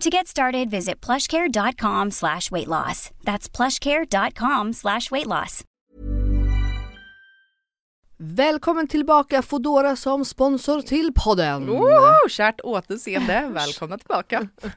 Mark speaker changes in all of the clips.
Speaker 1: To get started, visit plushcare.com slash weight loss. That's plushcare.com slash weight loss.
Speaker 2: Välkommen tillbaka Fodora som sponsor till podden.
Speaker 3: Woho! Kärt återseende. Välkomna tillbaka.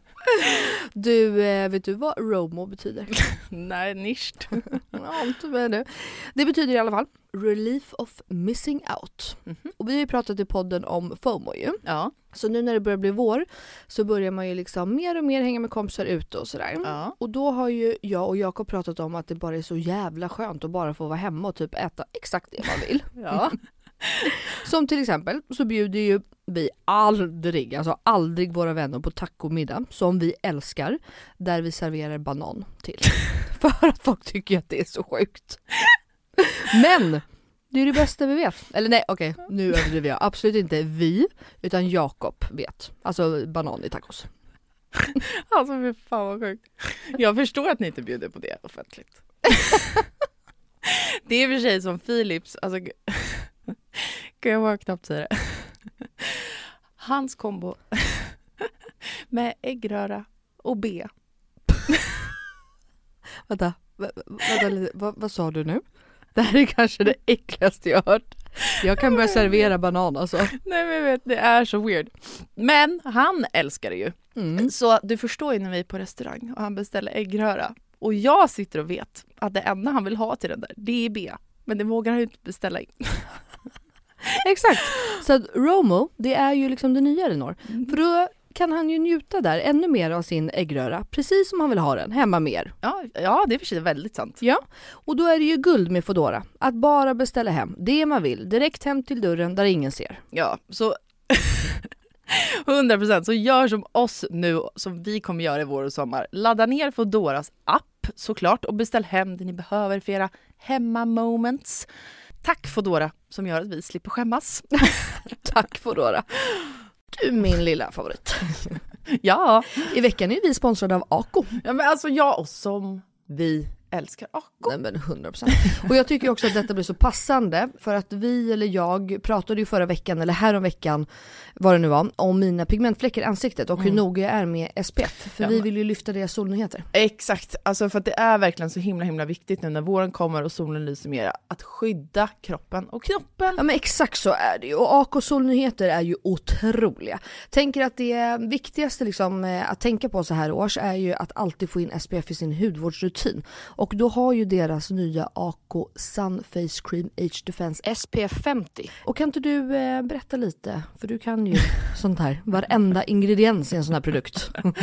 Speaker 2: Du, eh, vet du vad Romo betyder?
Speaker 3: Nej, nischt.
Speaker 2: Ja, inte med nu. Det betyder i alla fall Relief of Missing Out. Och vi har ju pratat i podden om FOMO ju.
Speaker 3: Mhm. Ja.
Speaker 2: Så nu när det börjar bli vår så börjar man ju liksom mer och mer hänga med kompisar ute och sådär.
Speaker 3: ja.
Speaker 2: Och då har ju jag och Jakob pratat om att det bara är så jävla skönt att bara få vara hemma och typ äta exakt det man vill.
Speaker 3: Ja.
Speaker 2: Som till exempel så bjuder ju vi aldrig, alltså aldrig våra vänner på tacomiddag som vi älskar där vi serverar banan till. För att folk tycker att det är så sjukt. Men det är det bästa vi vet. Eller nej okej, nu överdriver jag. Absolut inte vi, utan Jakob vet. Alltså banan i tacos.
Speaker 3: Alltså fy fan vad sjukt. Jag förstår att ni inte bjuder på det offentligt. det är i och för sig som Philips, alltså g- gud jag vågar knappt säga det. Hans kombo med äggröra och B.
Speaker 2: Vänta, vä- vä- vänta lite. Vad- vad sa du nu? Det här är kanske det äckligaste jag hört. Jag kan börja servera banan alltså.
Speaker 3: Nej men jag vet, det är så weird. Men han älskar det ju.
Speaker 2: Mm.
Speaker 3: Så du förstår ju när vi är på restaurang och han beställer äggröra och jag sitter och vet att det enda han vill ha till den där, det är B. Men det vågar han ju inte beställa in.
Speaker 2: Exakt. Så att Romo, det är ju liksom det nya Elinor. För då kan han ju njuta där ännu mer av sin äggröra, precis som han vill ha den, hemma med er.
Speaker 3: Ja, ja det är i och för sig väldigt sant.
Speaker 2: Ja, och då är det ju guld med Foodora. Att bara beställa hem det man vill, direkt hem till dörren där ingen ser.
Speaker 3: Ja, så 100 procent. Så gör som oss nu, som vi kommer göra i vår och sommar. Ladda ner Foodoras app såklart och beställ hem det ni behöver för era hemma-moments. Tack Foodora som gör att vi slipper skämmas.
Speaker 2: Tack Foodora. Du min lilla favorit.
Speaker 3: Ja,
Speaker 2: I veckan är vi sponsrade av Ako.
Speaker 3: ja men alltså jag och som vi älskar Ako.
Speaker 2: Nej men 100%. Och jag tycker också att detta blir så passande för att vi eller jag pratade ju förra veckan eller häromveckan vad det nu var om mina pigmentfläckar i ansiktet och hur noga jag är med SPF. För
Speaker 3: Ja,
Speaker 2: vi
Speaker 3: men-
Speaker 2: vill ju lyfta deras solnyheter.
Speaker 3: Exakt, alltså för att det är verkligen så himla himla viktigt nu när våren kommer och solen lyser mer att skydda kroppen och knoppen.
Speaker 2: Ja men exakt så är det ju och AK Solnyheter är ju otroliga. Tänker att det viktigaste liksom eh, att tänka på så här års är ju att alltid få in SPF i sin hudvårdsrutin. Och då har ju deras nya AK Sun Face Cream Age Defense SPF 50. Och kan inte du eh, berätta lite, för du kan ju sånt här, varenda ingrediens i en sån här produkt.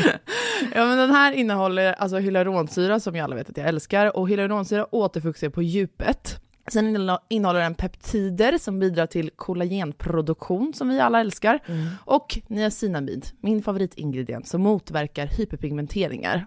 Speaker 3: Ja men den här innehåller alltså hyaluronsyra som ju alla vet att jag älskar och hyaluronsyra återfuktar på djupet. Sen innehå- innehåller den peptider som bidrar till kollagenproduktion som vi alla älskar. Och niacinamid, min favoritingrediens som motverkar hyperpigmenteringar.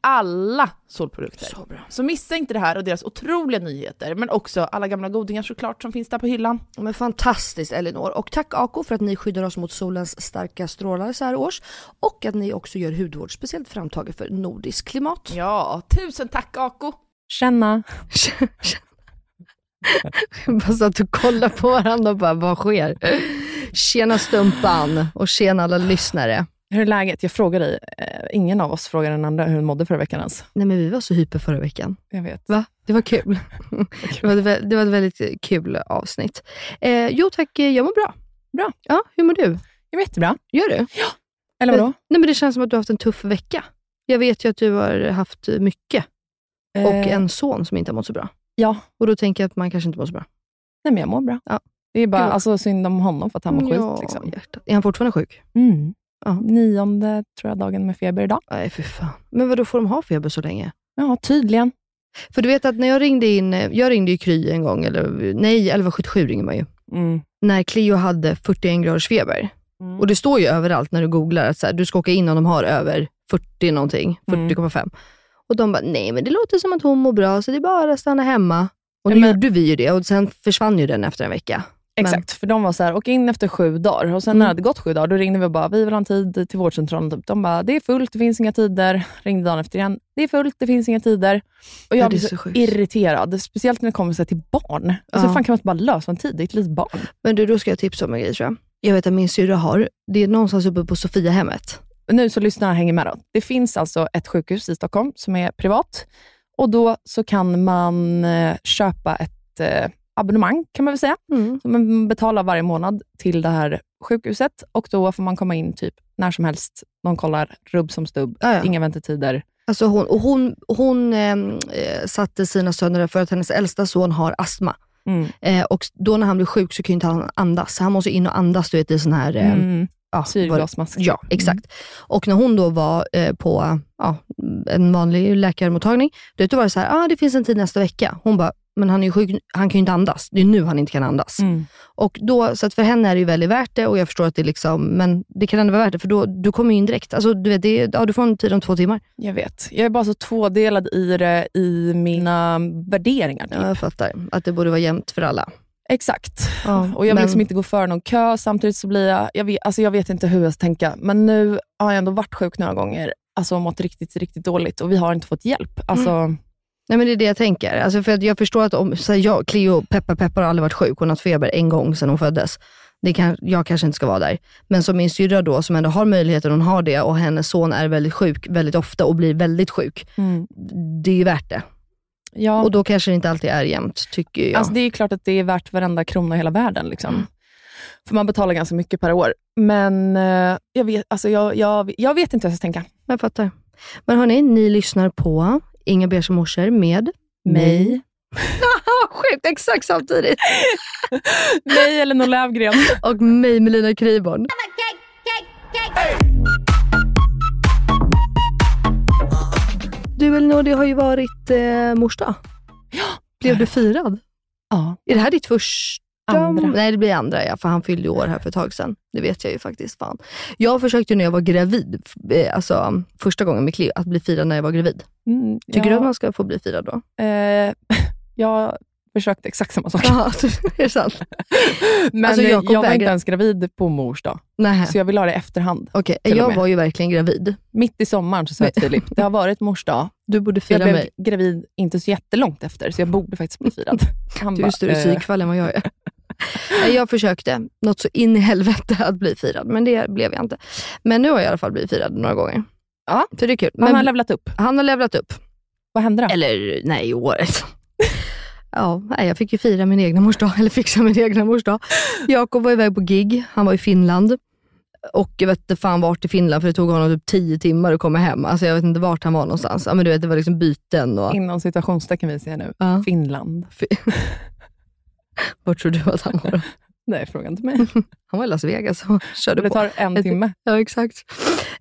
Speaker 3: Alla solprodukter. Så bra. Så missa inte det här och deras otroliga nyheter, men också alla gamla godingar såklart som finns där på hyllan.
Speaker 2: Men fantastiskt Elinor. Och tack Ako för att ni skyddar oss mot solens starka strålar så här års. Och att ni också gör hudvård speciellt framtaget för nordiskt klimat.
Speaker 3: Ja, tusen tack Ako!
Speaker 4: Känna.
Speaker 2: Bara så att du kollar på varandra och bara, vad sker? Tjena Stumpan och tjena alla lyssnare.
Speaker 4: Hur är läget? Jag frågar dig. eh, Ingen av oss frågar den andra hur hon mådde förra veckan ens.
Speaker 2: Nej men vi var så hyper förra veckan.
Speaker 4: Jag vet.
Speaker 2: Va? Det var kul. Det var, ett vä- det var ett väldigt kul avsnitt. Eh, jo tack, eh, jag mår bra.
Speaker 4: Bra.
Speaker 2: Ja, hur mår du?
Speaker 4: Jag vet bra.
Speaker 2: Gör du?
Speaker 4: Eller vadå?
Speaker 2: Nej men det känns som att du har haft en tuff vecka. Jag vet ju att du har haft mycket och
Speaker 4: Eh,
Speaker 2: en son som inte har mått så bra.
Speaker 4: Ja.
Speaker 2: Och då tänker jag att man kanske inte mår så bra.
Speaker 4: Nej, men jag mår bra.
Speaker 2: Ja.
Speaker 4: Det är bara
Speaker 2: Gud.
Speaker 4: alltså, synd om honom för att han mår
Speaker 2: ja,
Speaker 4: skit. Liksom.
Speaker 2: hjärtat. Är han fortfarande sjuk?
Speaker 4: Mm.
Speaker 2: Ja.
Speaker 4: Nionde tror jag dagen med feber idag.
Speaker 2: Nej, fy fan. Men vadå, får de ha feber så länge?
Speaker 4: Ja, tydligen.
Speaker 2: För du vet att när jag ringde in, eh, jag ringde ju Kry en gång, eller nej 1177 ringer man ju.
Speaker 4: Mm.
Speaker 2: När Cleo hade 41 graders feber. Och det står ju överallt när du googlar att så här, du ska åka in om de har över 40 någonting,
Speaker 4: Mm.
Speaker 2: 40,5. Och de bara, nej men det låter som att hon mår bra, så det är bara att stanna hemma. Och nu
Speaker 4: Ja, men-
Speaker 2: gjorde vi ju det och sen försvann ju den efter en vecka.
Speaker 4: Exakt, för de var så här, åk in efter sju dagar. Och sen när det hade gått sju dagar, då ringde vi och bara, vi vill ha en tid till vårdcentralen. Typ. De bara, det är fullt, det finns inga tider. Ringde dagen efter igen, det är fullt, det finns inga tider. Och jag
Speaker 2: Ja, det är
Speaker 4: blir
Speaker 2: så
Speaker 4: så,
Speaker 2: sjukt.
Speaker 4: irriterad, speciellt när det kommer så här till barn. Alltså,
Speaker 2: Ja.
Speaker 4: hur fan kan man inte bara lösa en tid? Det är ett litet barn.
Speaker 2: Men du, då ska jag tipsa om en grej tror jag. Jag vet att min syrra har, det är någonstans uppe på Sofiahemmet.
Speaker 4: nu så lyssnarna hänger med. Då. Det finns alltså ett sjukhus i Stockholm som är privat och då så kan man eh, köpa ett eh, abonnemang kan man väl säga.
Speaker 2: Mm.
Speaker 4: Så man betalar varje månad till det här sjukhuset och då får man komma in typ när som helst. De kollar rubb som stubb,
Speaker 2: Ja, ja.
Speaker 4: inga väntetider.
Speaker 2: Alltså hon, och hon, hon ehm, eh, satte sina söner där för att hennes äldsta son har astma.
Speaker 4: Mm.
Speaker 2: Eh, och då när han blir sjuk så kan ju inte han andas. Så han måste in och andas du vet, i sån här... ehm,
Speaker 4: Mm.
Speaker 2: ja, vad-
Speaker 4: Syrgasmask.
Speaker 2: Ja, exakt. Och när hon då var eh, på ja, en vanlig läkarmottagning, du vet, då var det så här, ah, det finns en tid nästa vecka. Hon bara, men han är ju sjuk, han kan ju inte andas. Det är nu han inte kan andas.
Speaker 4: Mm.
Speaker 2: Och då, så att för henne är det ju väldigt värt det och jag förstår att det liksom, men det kan ändå vara värt det för då, du kommer ju in direkt. Alltså, du, vet, det, är- ja, du får en tid om två timmar.
Speaker 4: Jag vet. Jag är bara så tvådelad i det i mina värderingar. Typ.
Speaker 2: Ja, jag fattar. Att det borde vara jämnt för alla.
Speaker 4: Exakt.
Speaker 2: Ja,
Speaker 4: Och Jag vill
Speaker 2: men-
Speaker 4: liksom inte gå före någon kö, samtidigt så blir jag... Jag vet, alltså jag vet inte hur jag ska tänka, men nu har jag ändå varit sjuk några gånger alltså och mått riktigt, riktigt dåligt och vi har inte fått hjälp.
Speaker 2: Mm.
Speaker 4: Alltså,
Speaker 2: Nej men det är det jag tänker. Alltså för att jag förstår att om, så här, jag, Cleo, peppar peppar, har aldrig varit sjuk. Hon har haft feber en gång sedan hon föddes. Det kan, jag kanske inte ska vara där. Men som min syrra då, som ändå har möjligheten, hon har det och hennes son är väldigt sjuk väldigt ofta och blir väldigt sjuk. Det är ju värt det.
Speaker 4: Mm. ja,
Speaker 2: Och då kanske det inte alltid är jämnt, tycker jag.
Speaker 4: alltså det är ju klart att det är värt varenda krona i hela världen. Liksom.
Speaker 2: Mm.
Speaker 4: För man betalar ganska mycket per år. Men eh, jag, vet, alltså jag, jag, jag vet inte hur jag ska tänka.
Speaker 2: Jag fattar. Men hörni, ni lyssnar på Inga beiga morsor med
Speaker 4: Mig.
Speaker 2: Ah, sjukt, exakt samtidigt.
Speaker 4: Nej, eller någon Löfgren.
Speaker 2: Och mig Melina Kriborn. Du Elinor, det har ju varit eh, mors dag. Blev du firad?
Speaker 4: ja,
Speaker 2: Är det här ditt första?
Speaker 4: Andra.
Speaker 2: Nej, det blir andra ja, för han fyllde ju år här för ett tag sedan. Det vet jag ju faktiskt. Fan. Jag försökte ju när jag var gravid, f- eh, alltså första gången med Cleo, att bli firad när jag var gravid.
Speaker 4: mm,
Speaker 2: Tycker du
Speaker 4: ja,
Speaker 2: att man ska få bli firad då?
Speaker 4: eh, jag försökte exakt samma sak.
Speaker 2: Ja, är det sant?
Speaker 4: Men
Speaker 2: Alltså,
Speaker 4: eh, jag,
Speaker 2: Jakob
Speaker 4: var inte
Speaker 2: vägrar-
Speaker 4: ens gravid på mors dag,
Speaker 2: Nej.
Speaker 4: så jag ville ha det i efterhand.
Speaker 2: Okej,
Speaker 4: Till och
Speaker 2: jag
Speaker 4: med.
Speaker 2: var ju verkligen gravid.
Speaker 4: Mitt i sommaren så sa jag till Filip, det har varit mors dag.
Speaker 2: Du borde
Speaker 4: Jag
Speaker 2: fira
Speaker 4: blev
Speaker 2: mig.
Speaker 4: gravid inte så jättelångt efter, så jag borde faktiskt bli firad. Han
Speaker 2: Du är
Speaker 4: bara,
Speaker 2: ju större
Speaker 4: eh,
Speaker 2: psykfall än vad jag är. Nej, jag försökte något så in i helvete att bli firad, men det blev jag inte. Men nu har jag i alla fall blivit firad några gånger.
Speaker 4: Ja.
Speaker 2: Så det är kul.
Speaker 4: Han
Speaker 2: Men
Speaker 4: har levlat upp.
Speaker 2: han har levlat upp.
Speaker 4: Vad hände då?
Speaker 2: Eller nej, i året. Ja, nej, jag fick ju fira min egna morsdag, eller fixa min egna morsdag. Jakob var iväg på gig, han var i Finland. och jag vet inte fan vart i Finland, för det tog honom typ 10 timmar att komma hem. Alltså jag vet inte vart han var någonstans. Ja, men du vet, det var liksom byten och...
Speaker 4: Inom citationstecken vi säger nu.
Speaker 2: Ja.
Speaker 4: Finland.
Speaker 2: Vart tror du att han var? då?
Speaker 4: Det är frågan till mig.
Speaker 2: Han var i Las Vegas och körde
Speaker 4: Det
Speaker 2: på.
Speaker 4: tar en
Speaker 2: Ett-
Speaker 4: timme.
Speaker 2: Ja, exakt.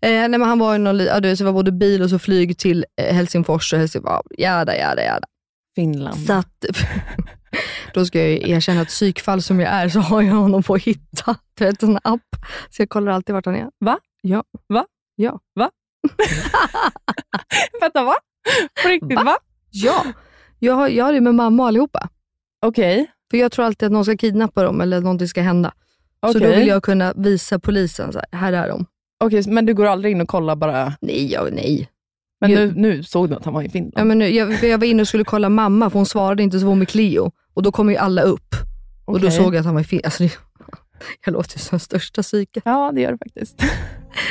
Speaker 2: Eh, nej, men han var i någon, li- ja, du vet, så det var både bil och så flyg till eh, Helsingfors och Helsingfors. Jada, jada, jada.
Speaker 4: Finland.
Speaker 2: Så att, då ska jag ju erkänna att psykfall som jag är så har jag honom på att hitta. Du vet, en app. Så jag kollar alltid vart han är.
Speaker 4: Va?
Speaker 2: Ja.
Speaker 4: Va?
Speaker 2: Ja.
Speaker 4: Va? Vänta, va? På riktigt, va?
Speaker 2: Va? Ja. Jag har, jag har det med mamma och allihopa.
Speaker 4: Okej.
Speaker 2: För jag tror alltid att någon ska kidnappa dem eller att någonting ska hända. Så då
Speaker 4: okej.
Speaker 2: vill jag kunna visa polisen, så här, här är de.
Speaker 4: Okej, men du går aldrig in och kollar bara.
Speaker 2: Nej, ja, nej.
Speaker 4: Men
Speaker 2: Jo.
Speaker 4: nu, nu såg du att han var i Finland.
Speaker 2: Ja, men nu, jag, för jag var inne och skulle kolla mamma, för hon svarade inte, så var hon med Cleo. Och då kom ju alla upp. Och då
Speaker 4: Okej.
Speaker 2: såg jag att han var i Finland. Alltså, det, jag låter ju som största psyket.
Speaker 4: Ja, det gör det faktiskt.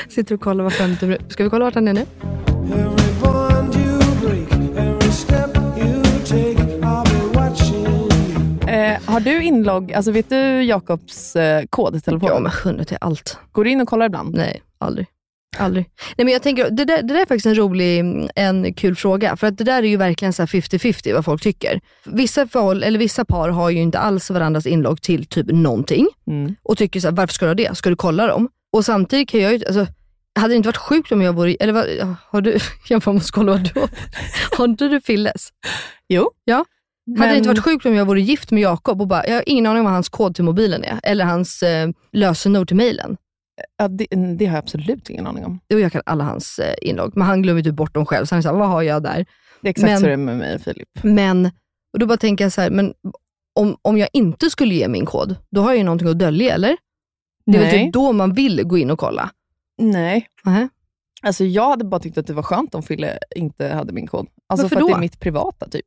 Speaker 2: Sitter och kollar var femte minut. Ska vi kolla vart han är nu?
Speaker 5: Every bond you break, every step you take, I'll be watching you.
Speaker 4: Eh, har du inlogg, alltså vet du Jakobs eh, kod i
Speaker 2: Ja,
Speaker 4: telefonen?
Speaker 2: men hundra till allt.
Speaker 4: Går du in och kollar ibland?
Speaker 2: Nej, aldrig. Aldrig. Nej, men jag tänker, det, där, det där är faktiskt en rolig, en kul fråga. För att det där är ju verkligen så här 50-50 vad folk tycker. Vissa, förhåll, eller vissa par har ju inte alls varandras inlogg till typ någonting.
Speaker 4: Mm.
Speaker 2: och tycker så här, varför ska du ha det? Ska du kolla dem? Och samtidigt kan jag ju, alltså, hade det inte varit sjukt om jag vore, eller vad, har du, jag bara måste kolla vad du har. Har inte du Filles?
Speaker 4: Jo.
Speaker 2: Ja. Hade det inte varit sjukt om jag vore gift med Jakob och bara, jag har ingen aning om vad hans kod till mobilen är, eller hans eh, lösenord till mejlen.
Speaker 4: Ja, det, det har jag absolut ingen aning om.
Speaker 2: Jo, jag kan alla hans eh, inlogg, men han glömmer ju typ bort dem själv, så han är såhär, vad har jag där?
Speaker 4: Det är exakt
Speaker 2: Men-
Speaker 4: så det är med mig och Filip.
Speaker 2: Men, och då bara tänker jag så här, men om, om jag inte skulle ge min kod, då har jag ju någonting att dölja, eller? Det är väl
Speaker 4: Nej.
Speaker 2: typ då man vill gå in och kolla?
Speaker 4: Nej.
Speaker 2: Nähä.
Speaker 4: Alltså jag hade bara tyckt att det var skönt om Fille inte hade min kod. Alltså
Speaker 2: Varför
Speaker 4: för att
Speaker 2: då?
Speaker 4: det är mitt privata typ.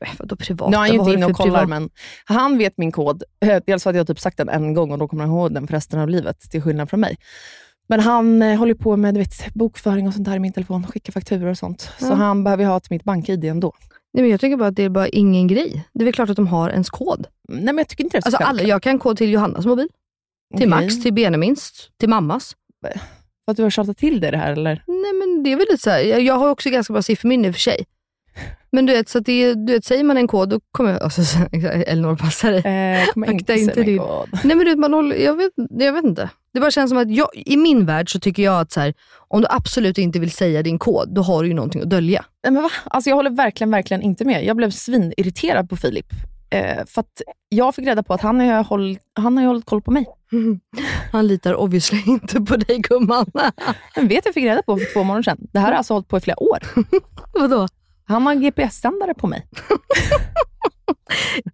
Speaker 2: Nej, vadå privata?
Speaker 4: Nu är han ju
Speaker 2: Vad har
Speaker 4: inte
Speaker 2: du
Speaker 4: inne och
Speaker 2: för
Speaker 4: kollar,
Speaker 2: privat-
Speaker 4: men han vet min kod. Eh, Dels för att jag har typ sagt den en gång och då kommer han ihåg den för resten av livet, till skillnad från mig. Men han eh, håller på med du vet, bokföring och sånt där i min telefon, skickar fakturor och sånt. Så
Speaker 2: Ja.
Speaker 4: han behöver ju ha till mitt bank-id ändå.
Speaker 2: Nej, men jag tycker bara att det är bara ingen grej. Det är väl klart att de har ens kod.
Speaker 4: Nej, men jag tycker inte det är så
Speaker 2: Alltså, alla, jag kan kod till Johannas mobil, till
Speaker 4: Okej.
Speaker 2: Max, till Benjamins, till mammas.
Speaker 4: För att du har tjatat till dig det här eller?
Speaker 2: Nej, men det är väl lite så här. Jag, jag har också ganska bra sifferminne i och för sig. Men du vet, så att det, är- du vet, säger man en kod, då kommer jag... Alltså, så- Elinor passar dig.
Speaker 4: Eh, kommer jag inte
Speaker 2: Akta inte
Speaker 4: säga min
Speaker 2: din-
Speaker 4: kod.
Speaker 2: Nej, men du vet, man håller, jag, vet, jag vet inte. Det bara känns som att jag, i min värld så tycker jag att så här, om du absolut inte vill säga din kod, då har du ju någonting att dölja.
Speaker 4: Nej, men va? Alltså, jag håller verkligen, verkligen inte med. Jag blev svinirriterad på Filip. Eh, för att jag fick reda på att han har, ju håll, han har ju hållit koll på mig.
Speaker 2: Han litar obviously inte på dig gumman.
Speaker 4: Men vet jag fick reda på för två månader sedan. Det här har alltså hållit på i flera år.
Speaker 2: Vadå?
Speaker 4: Han har en GPS-sändare på mig.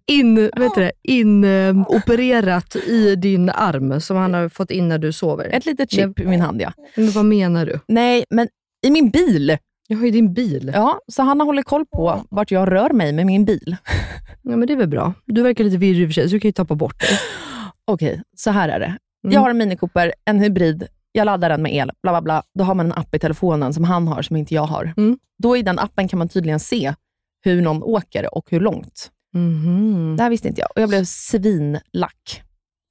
Speaker 2: in, vet du det, in, eh, opererat i din arm som han har fått in när du sover.
Speaker 4: Ett litet chip i min hand, ja.
Speaker 2: Men vad menar du?
Speaker 4: Nej, men i min bil.
Speaker 2: Jag har ju din bil. Ja.
Speaker 4: Ja, så han har hållit koll på vart jag rör mig med min bil.
Speaker 2: men det är väl bra. Du verkar lite virrig i och för sig, så du kan ju tappa bort det.
Speaker 4: Okej, så här är det.
Speaker 2: Mm.
Speaker 4: Jag har en Mini Cooper, en hybrid. Jag laddar den med el, bla bla bla. Då har man en app i telefonen som han har, som inte jag har.
Speaker 2: Mm.
Speaker 4: Då i den appen kan man tydligen se hur någon åker och hur långt.
Speaker 2: Mhm.
Speaker 4: Det här visste inte jag och jag blev svinlack.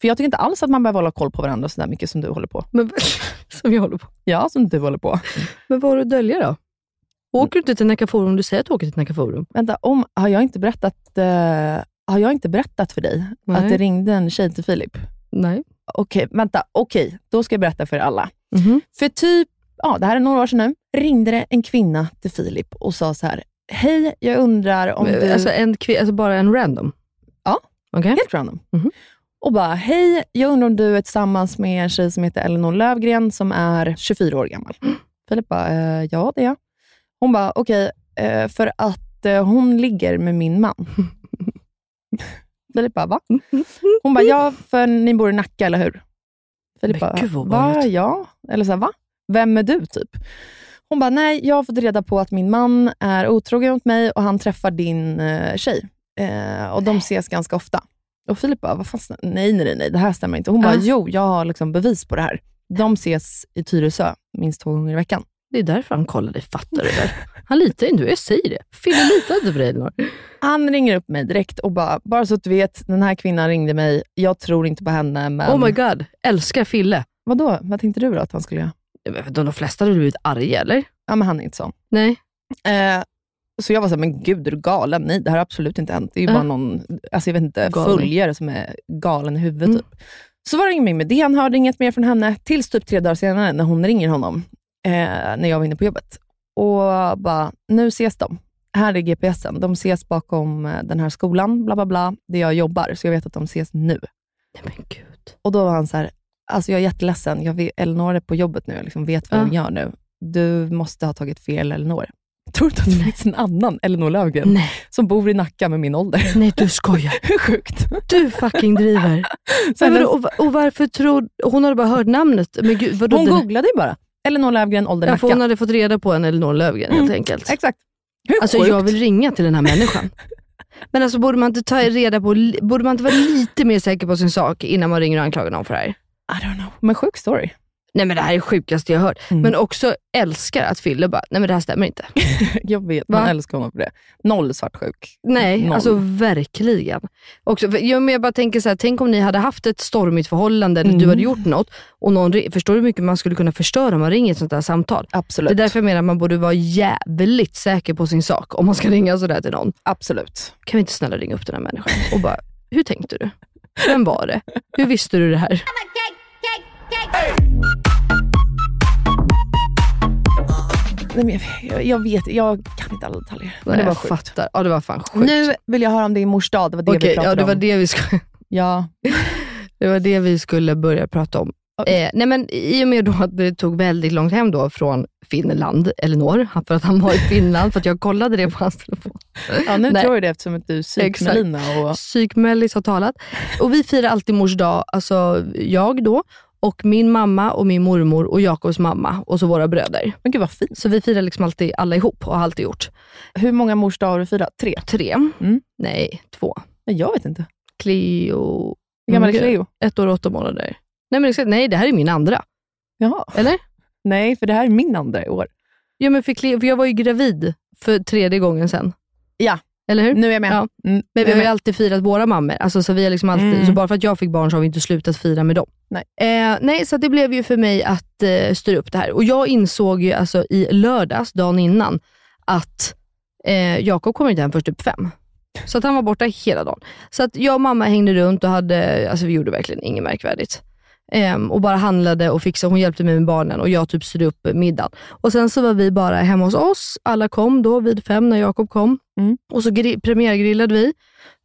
Speaker 4: För jag tycker inte alls att man behöver hålla koll på varandra så där mycket som du håller på.
Speaker 2: Men, som jag håller på.
Speaker 4: Ja, som du håller på.
Speaker 2: Men vad har du att dölja då? Åker du inte till Nacka Forum om du säger att du åker till Nacka Forum?
Speaker 4: Vänta, om, har, jag inte berättat, eh, har jag inte berättat för dig
Speaker 2: Nej.
Speaker 4: att det ringde en tjej till Filip?
Speaker 2: Nej.
Speaker 4: Okej, vänta. Okej, då ska jag berätta för er alla.
Speaker 2: Mhm.
Speaker 4: För typ, ja, det här är några år sedan nu, ringde det en kvinna till Filip och sa så här, hej, jag undrar om
Speaker 2: Men,
Speaker 4: du...
Speaker 2: alltså, en, kvi- alltså bara en random?
Speaker 4: Ja.
Speaker 2: Okej.
Speaker 4: Helt random.
Speaker 2: Mhm.
Speaker 4: Och bara, hej, jag undrar om du är tillsammans med en tjej som heter Elinor Lövgren som är 24 år gammal.
Speaker 2: Mm.
Speaker 4: Filip bara, eh, ja det är jag. Hon bara, okej, eh, för att eh, hon ligger med min man. Filip bara, va?
Speaker 2: Mm-hmm.
Speaker 4: Hon bara, ja för ni bor i Nacka, eller hur? Filip
Speaker 2: Men
Speaker 4: bara,
Speaker 2: gud, vad
Speaker 4: va?
Speaker 2: ovanligt."
Speaker 4: Ja. Eller så här, va? Vem är du typ? Hon bara, nej, jag har fått reda på att min man är otrogen mot mig och han träffar din eh, tjej. Eh, och de ses ganska ofta. Och Filip bara, vad fan, snä- nej, nej, nej, nej, det här stämmer inte. Hon bara,
Speaker 2: Ah.
Speaker 4: jo, jag har liksom bevis på det här. De ses i Tyresö minst två gånger i veckan.
Speaker 2: Det är därför han kollar dig, fattar du väl? Han litar inte, jag säger det. Fille litar inte på dig Elinor.
Speaker 4: Han ringer upp mig direkt och bara, bara så att du vet, den här kvinnan ringde mig. Jag tror inte på henne, men
Speaker 2: Oh my god, älskar Fille.
Speaker 4: Vadå? Vad tänkte du då att han skulle göra?
Speaker 2: De, de flesta hade blivit arga eller?
Speaker 4: Ja, men han är inte sån.
Speaker 2: Nej.
Speaker 4: Eh, så jag var såhär, men gud är du galen? Nej, det här har absolut inte hänt. Det är ju
Speaker 2: Ja.
Speaker 4: bara någon alltså jag vet inte,
Speaker 2: Galning.
Speaker 4: följare som är galen i huvudet.
Speaker 2: Mm.
Speaker 4: Typ. Så var det inget mer med det. Han hörde inget mer från henne, tills typ tre dagar senare när hon ringer honom, eh, när jag var inne på jobbet. Och bara, nu ses de. Här är GPSen. De ses bakom eh, den här skolan, bla bla bla, där jag jobbar. Så jag vet att de ses nu.
Speaker 2: Nej men gud.
Speaker 4: Och då var han så här, alltså jag är jätteledsen, jag vet, Elinor är på jobbet nu, jag liksom vet vad hon
Speaker 2: Ja.
Speaker 4: gör nu. Du måste ha tagit fel Elinor. Tror du inte att det finns en annan Elinor Löfgren
Speaker 2: Nej,
Speaker 4: som bor i Nacka med min ålder?
Speaker 2: nej du skojar.
Speaker 4: Hur sjukt?
Speaker 2: Du fucking driver.
Speaker 4: Så här,
Speaker 2: Men vadå, och, va- och varför tror... Hon hade bara hört namnet. Men gud, vadå,
Speaker 4: hon
Speaker 2: den-
Speaker 4: googlade ju bara, Elinor Löfgren, ålder
Speaker 2: Ja, för hon
Speaker 4: Nacka.
Speaker 2: hade fått reda på en Elinor Löfgren helt enkelt.
Speaker 4: Exakt. Hur
Speaker 2: Alltså
Speaker 4: Mm. Äh, sjukt?
Speaker 2: jag vill ringa till den här människan. Men alltså borde man inte ta reda på, borde man inte vara lite mer säker på sin sak innan man ringer och anklagar någon för det här?
Speaker 4: I don't know, men sjuk story.
Speaker 2: Nej men det här är det sjukaste jag har hört.
Speaker 4: Mm.
Speaker 2: Men också älskar att Fille bara, nej men det här stämmer inte.
Speaker 4: Jag vet,
Speaker 2: Va?
Speaker 4: man älskar honom för det. Noll svartsjuk.
Speaker 2: Nej,
Speaker 4: Noll.
Speaker 2: alltså verkligen. Också, för, ja, men jag bara tänker så här, tänk om ni hade haft ett stormigt förhållande, eller du
Speaker 4: Mm.
Speaker 2: hade gjort något, och någon, ri- förstår du hur mycket man skulle kunna förstöra om man ringer ett sånt här samtal?
Speaker 4: Absolut.
Speaker 2: Det är därför jag menar att man borde vara jävligt säker på sin sak om man ska ringa sådär till någon.
Speaker 4: Absolut.
Speaker 2: Kan vi inte snälla ringa upp den här människan och bara, hur tänkte du? Vem var det? Hur visste du det här?
Speaker 4: Nej, men jag, jag, jag vet, jag kan inte alla detaljer. Men
Speaker 2: Nej,
Speaker 4: det var
Speaker 2: jag
Speaker 4: sjukt.
Speaker 2: fattar. Ja, det var fan sjukt.
Speaker 4: Nu vill jag höra om din mors dag, det var det vi
Speaker 2: Okej,
Speaker 4: pratade
Speaker 2: ja, det var
Speaker 4: om.
Speaker 2: det vi skulle...
Speaker 4: Ja,
Speaker 2: Det var det vi skulle börja prata om. Eh, nej men, I och med då att det tog väldigt långt hem då från Finland, Elinor, för att han var i Finland, för att jag kollade det på hans telefon.
Speaker 4: Ja, nu
Speaker 2: Nej.
Speaker 4: tror jag det eftersom att du är psyk med
Speaker 2: Exakt.
Speaker 4: Lina och
Speaker 2: Psykmellis har talat. Och vi firar alltid mors dag, alltså jag då, och min mamma och min mormor och Jakobs mamma och så våra bröder.
Speaker 4: Men gud vad fint.
Speaker 2: Så vi firar liksom alltid alla ihop och har alltid gjort.
Speaker 4: Hur många mors dagar har du firat? Tre?
Speaker 2: Tre,
Speaker 4: Mm.
Speaker 2: nej två.
Speaker 4: Nej, jag vet inte.
Speaker 2: Cleo,
Speaker 4: Hur gammal är
Speaker 2: Mm, gud.
Speaker 4: Cleo?
Speaker 2: ett år och åtta månader. Nej, men exakt, nej, det här är min andra.
Speaker 4: Jaha.
Speaker 2: Eller?
Speaker 4: Nej, för det här är min andra i år.
Speaker 2: Ja, men för, Cleo- för jag var ju gravid för tredje gången sen.
Speaker 4: Ja.
Speaker 2: Eller hur?
Speaker 4: Nu är jag med.
Speaker 2: Ja.
Speaker 4: Mm,
Speaker 2: Men
Speaker 4: jag
Speaker 2: vi
Speaker 4: är
Speaker 2: har ju
Speaker 4: med.
Speaker 2: alltid firat våra mammor. Alltså, så, vi har liksom alltid,
Speaker 4: Mm.
Speaker 2: så bara för att jag fick barn så har vi inte slutat fira med dem.
Speaker 4: Nej.
Speaker 2: Eh, nej, så att det blev ju för mig att eh, styra upp det här. Och Jag insåg ju alltså, i lördags, dagen innan, att eh, Jakob kommer inte hem först typ fem. Så att han var borta hela dagen. Så att jag och mamma hängde runt och hade, alltså, vi gjorde verkligen inget märkvärdigt. Ehm, och bara handlade och fixade. Hon hjälpte mig med barnen och jag typ styrde upp middagen. Och Sen så var vi bara hemma hos oss. Alla kom då vid fem när Jakob kom.
Speaker 4: Mm.
Speaker 2: Och så gri- premiärgrillade vi.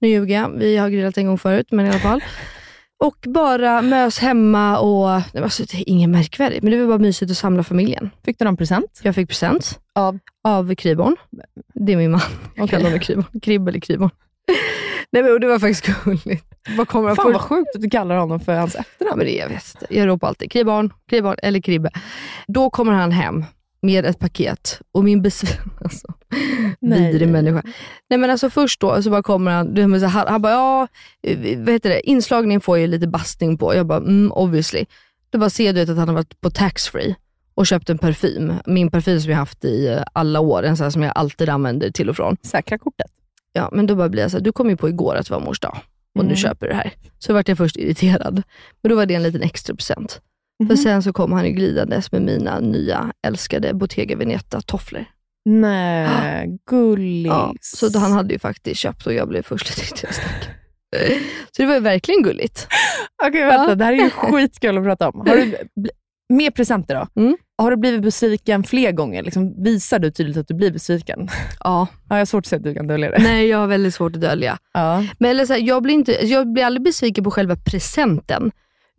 Speaker 2: Nu ljuger jag. Vi har grillat en gång förut, men i alla fall. Och bara mös hemma och, nej, men alltså, det är inget märkvärdigt, men det var bara mysigt att samla familjen.
Speaker 4: Fick du någon present?
Speaker 2: Jag fick present
Speaker 4: Av?
Speaker 2: av Kriborn. Det är min man. Jag
Speaker 4: Okej.
Speaker 2: kallar honom Kriborn. Kribb eller Kriborn. Nej, men det var faktiskt gulligt. Vad kommer han
Speaker 4: Fan
Speaker 2: först?
Speaker 4: vad sjukt att du kallar honom för hans
Speaker 2: Ja, men det, jag vet inte. Jag ropar alltid kribarn, kribarn eller kribbe. Då kommer han hem med ett paket och min besvikelse, alltså,
Speaker 4: Nej.
Speaker 2: vidrig människa. Nej men alltså först då så bara kommer han, du, men så här, han bara ja, eh, vad heter det, inslagningen får jag ju lite bastning på. Jag bara mm, obviously. Då bara ser du att han har varit på taxfree och köpt en parfym. Min parfym som jag haft i eh, alla år, en sån här som jag alltid använder till och från.
Speaker 4: Säkra kortet.
Speaker 2: Ja, men då bara blir jag så här, du kom ju på igår att det var mors dag och
Speaker 4: Mm.
Speaker 2: nu köper du det här. Så vart jag först irriterad, men då var det en liten extra present.
Speaker 4: Mhm.
Speaker 2: För sen så kom han ju glidandes med mina nya älskade Bottega Veneta-tofflor.
Speaker 4: Nej, gullis.
Speaker 2: Ja, så då han hade ju faktiskt köpt och jag blev först lite irriterad. stack. Så det var ju verkligen gulligt.
Speaker 4: Okej, vänta.
Speaker 2: Ja.
Speaker 4: Det här är ju skitkul att prata om. Har du bl- mer presenter då?
Speaker 2: Mm.
Speaker 4: Har du blivit besviken fler gånger? Liksom, visar du tydligt att du blir besviken?
Speaker 2: Ja,
Speaker 4: Ja, jag har svårt att se att du kan dölja det.
Speaker 2: nej jag har väldigt svårt att dölja.
Speaker 4: Ja.
Speaker 2: Men eller så här, jag, blir inte, jag blir aldrig besviken på själva presenten.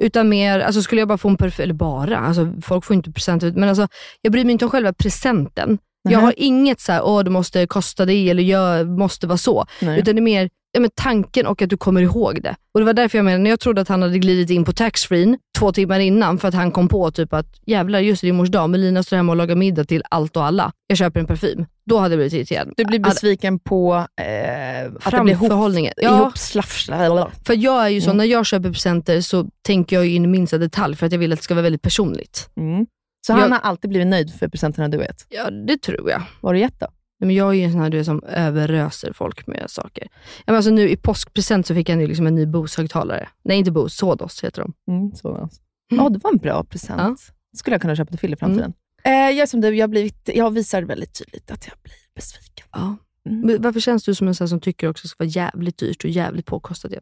Speaker 2: Utan mer, alltså skulle jag bara få en perfekt, eller bara, alltså folk får inte presenter. Men alltså, jag bryr mig inte om själva presenten. Jag
Speaker 4: Nej.
Speaker 2: har inget så här, åh det måste kosta det eller jag måste vara så.
Speaker 4: Nej.
Speaker 2: Utan det är mer ja, men tanken och att du kommer ihåg det. Och Det var därför jag menade, när jag trodde att han hade glidit in på taxfreen två timmar innan för att han kom på typ att jävlar just det, det är mors dag, men Lina står hemma och lagar middag till allt och alla. Jag köper en parfym. Då hade jag blivit irriterad. Alltså,
Speaker 4: Du blir
Speaker 2: Hade-
Speaker 4: besviken på eh, att det blir ihop,
Speaker 2: Framförhållningen.
Speaker 4: ihop slafsla.
Speaker 2: För jag är ju så,
Speaker 4: Mm.
Speaker 2: när jag köper presenter så tänker jag ju in i minsta detalj för att jag vill att det ska vara väldigt personligt.
Speaker 4: Mm. Så
Speaker 2: Jag-
Speaker 4: han har alltid blivit nöjd för presenterna du gett?
Speaker 2: Ja, det tror jag.
Speaker 4: Vad har du gett då?
Speaker 2: Nej, Men jag är ju en sån här du vet, som överöser folk med saker. Ja, men alltså nu i påskpresent så fick han ju liksom en ny Bose-högtalare. Nej, inte Bose, Sodos heter de.
Speaker 4: Mm, så, alltså. Ja, det var en bra present.
Speaker 2: Ja. Mm.
Speaker 4: skulle jag kunna köpa till Fille i framtiden. Eh, jag är som du, jag, har blivit, jag visar väldigt tydligt att jag blir besviken.
Speaker 2: Ja.
Speaker 4: Mm.
Speaker 2: Men varför känns du som en sån som tycker också att det ska vara jävligt dyrt och jävligt påkostat? Ja.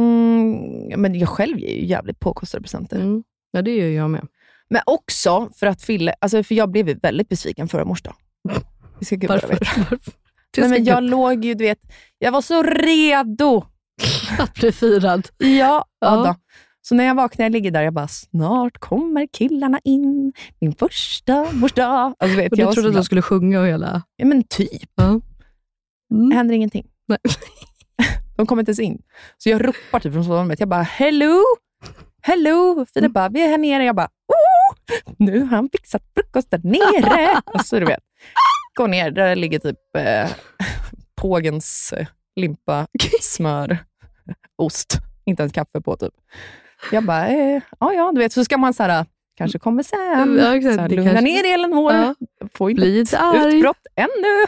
Speaker 4: Mm, men jag själv ger ju jävligt påkostade presenter.
Speaker 2: Mm. ja, det gör jag med.
Speaker 4: Men också för att Fille, alltså för jag blev ju väldigt besviken förra morsdagen. Det ska gudarna
Speaker 2: Varför?
Speaker 4: veta.
Speaker 2: Varför? Det
Speaker 4: Nej, men
Speaker 2: ska
Speaker 4: jag låg ju, du vet, jag var så redo.
Speaker 2: inte- att bli firad.
Speaker 4: Ja,
Speaker 2: Ja.
Speaker 4: Då. Så när jag vaknar, jag ligger där, jag bara, snart kommer killarna in, min första morsdag. Alltså, vet,
Speaker 2: Och
Speaker 4: jag
Speaker 2: du
Speaker 4: var
Speaker 2: trodde
Speaker 4: så
Speaker 2: att
Speaker 4: glad.
Speaker 2: de skulle sjunga och hela...
Speaker 4: Ja, men typ.
Speaker 2: Ja. Mm.
Speaker 4: händer ingenting.
Speaker 2: Nej.
Speaker 4: De kommer inte ens in. Så jag ropar typ från sovrummet. Jag bara, hello! Hello!
Speaker 2: Mm.
Speaker 4: Filip bara, vi är här nere. Jag bara, oh! Nu har han fixat frukost där nere. Alltså, du vet. Går ner, där ligger typ eh, pågens eh, limpa, smör, ost. Inte ens kaffe på typ. Jag bara, eh, ja ja, du vet. Så ska man så här, kanske kommer sen.
Speaker 2: Ja, exakt.
Speaker 4: så här,
Speaker 2: Det
Speaker 4: lugna
Speaker 2: kanske-
Speaker 4: ner Elinor.
Speaker 2: Ja.
Speaker 4: Får inte
Speaker 2: Bli inte arg.
Speaker 4: utbrott ännu.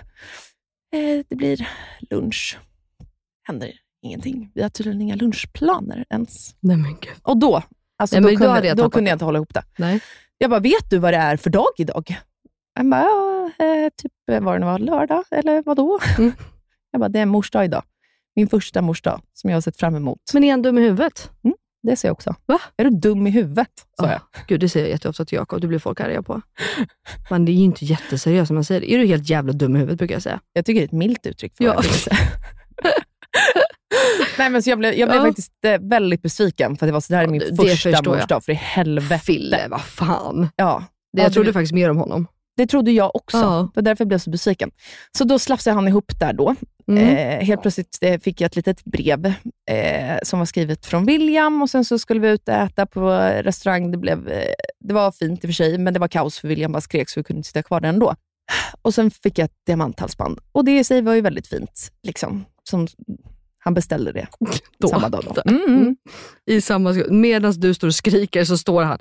Speaker 4: Eh, det blir lunch. Händer ingenting. Vi har tydligen inga lunchplaner ens.
Speaker 2: Nej men gud.
Speaker 4: Och då, alltså,
Speaker 2: Ja,
Speaker 4: då,
Speaker 2: men då
Speaker 4: kunde,
Speaker 2: hade
Speaker 4: jag,
Speaker 2: jag
Speaker 4: då
Speaker 2: tappat
Speaker 4: kunde
Speaker 2: det.
Speaker 4: jag inte hålla ihop det.
Speaker 2: Nej.
Speaker 4: Jag bara, vet du vad det är för dag idag? Han bara, ja, eh, typ eh, vad det nu var, lördag eller vad då?
Speaker 2: Mm.
Speaker 4: Jag bara, det är morsdag idag. Min första morsdag som jag har sett fram emot.
Speaker 2: Men är han dum i huvudet?
Speaker 4: Det sa jag också.
Speaker 2: Va?
Speaker 4: Är du dum i huvudet? sa jag.
Speaker 2: Ah, Gud, det säger jag jätteofta till Jakob. Det blir folk arga på. Man, det är ju inte jätteseriöst när man säger det. Är du helt jävla dum i huvudet, brukar jag säga.
Speaker 4: Jag tycker det är ett milt uttryck för
Speaker 2: Ja.
Speaker 4: vad jag ville säga. Nej, men så jag blev, jag blev
Speaker 2: Ja.
Speaker 4: faktiskt eh, väldigt besviken för att det var så det här är min
Speaker 2: Ja, det- det
Speaker 4: första
Speaker 2: förstår jag.
Speaker 4: morsdag, för i helvete.
Speaker 2: Fille, vad fan.
Speaker 4: Ja,
Speaker 2: Det,
Speaker 4: Ja,
Speaker 2: jag
Speaker 4: du-
Speaker 2: trodde faktiskt mer om honom.
Speaker 4: det trodde jag också.
Speaker 2: Ja.
Speaker 4: Det var därför jag blev så besviken. Så då slafsade han ihop där då.
Speaker 2: Mm.
Speaker 4: Eh, helt plötsligt eh, fick jag ett litet brev eh, som var skrivet från William och sen så skulle vi ut och äta på restaurang. Det, blev, eh, det var fint i och för sig, men det var kaos för William bara skrek så vi kunde inte sitta kvar där ändå. Och sen fick jag ett diamanthalsband och det i sig var ju väldigt fint. Liksom, som, han beställde det
Speaker 2: Då.
Speaker 4: samma dag. Då. Mm, mm,
Speaker 2: I samma sekund. Medan du står och skriker så står han.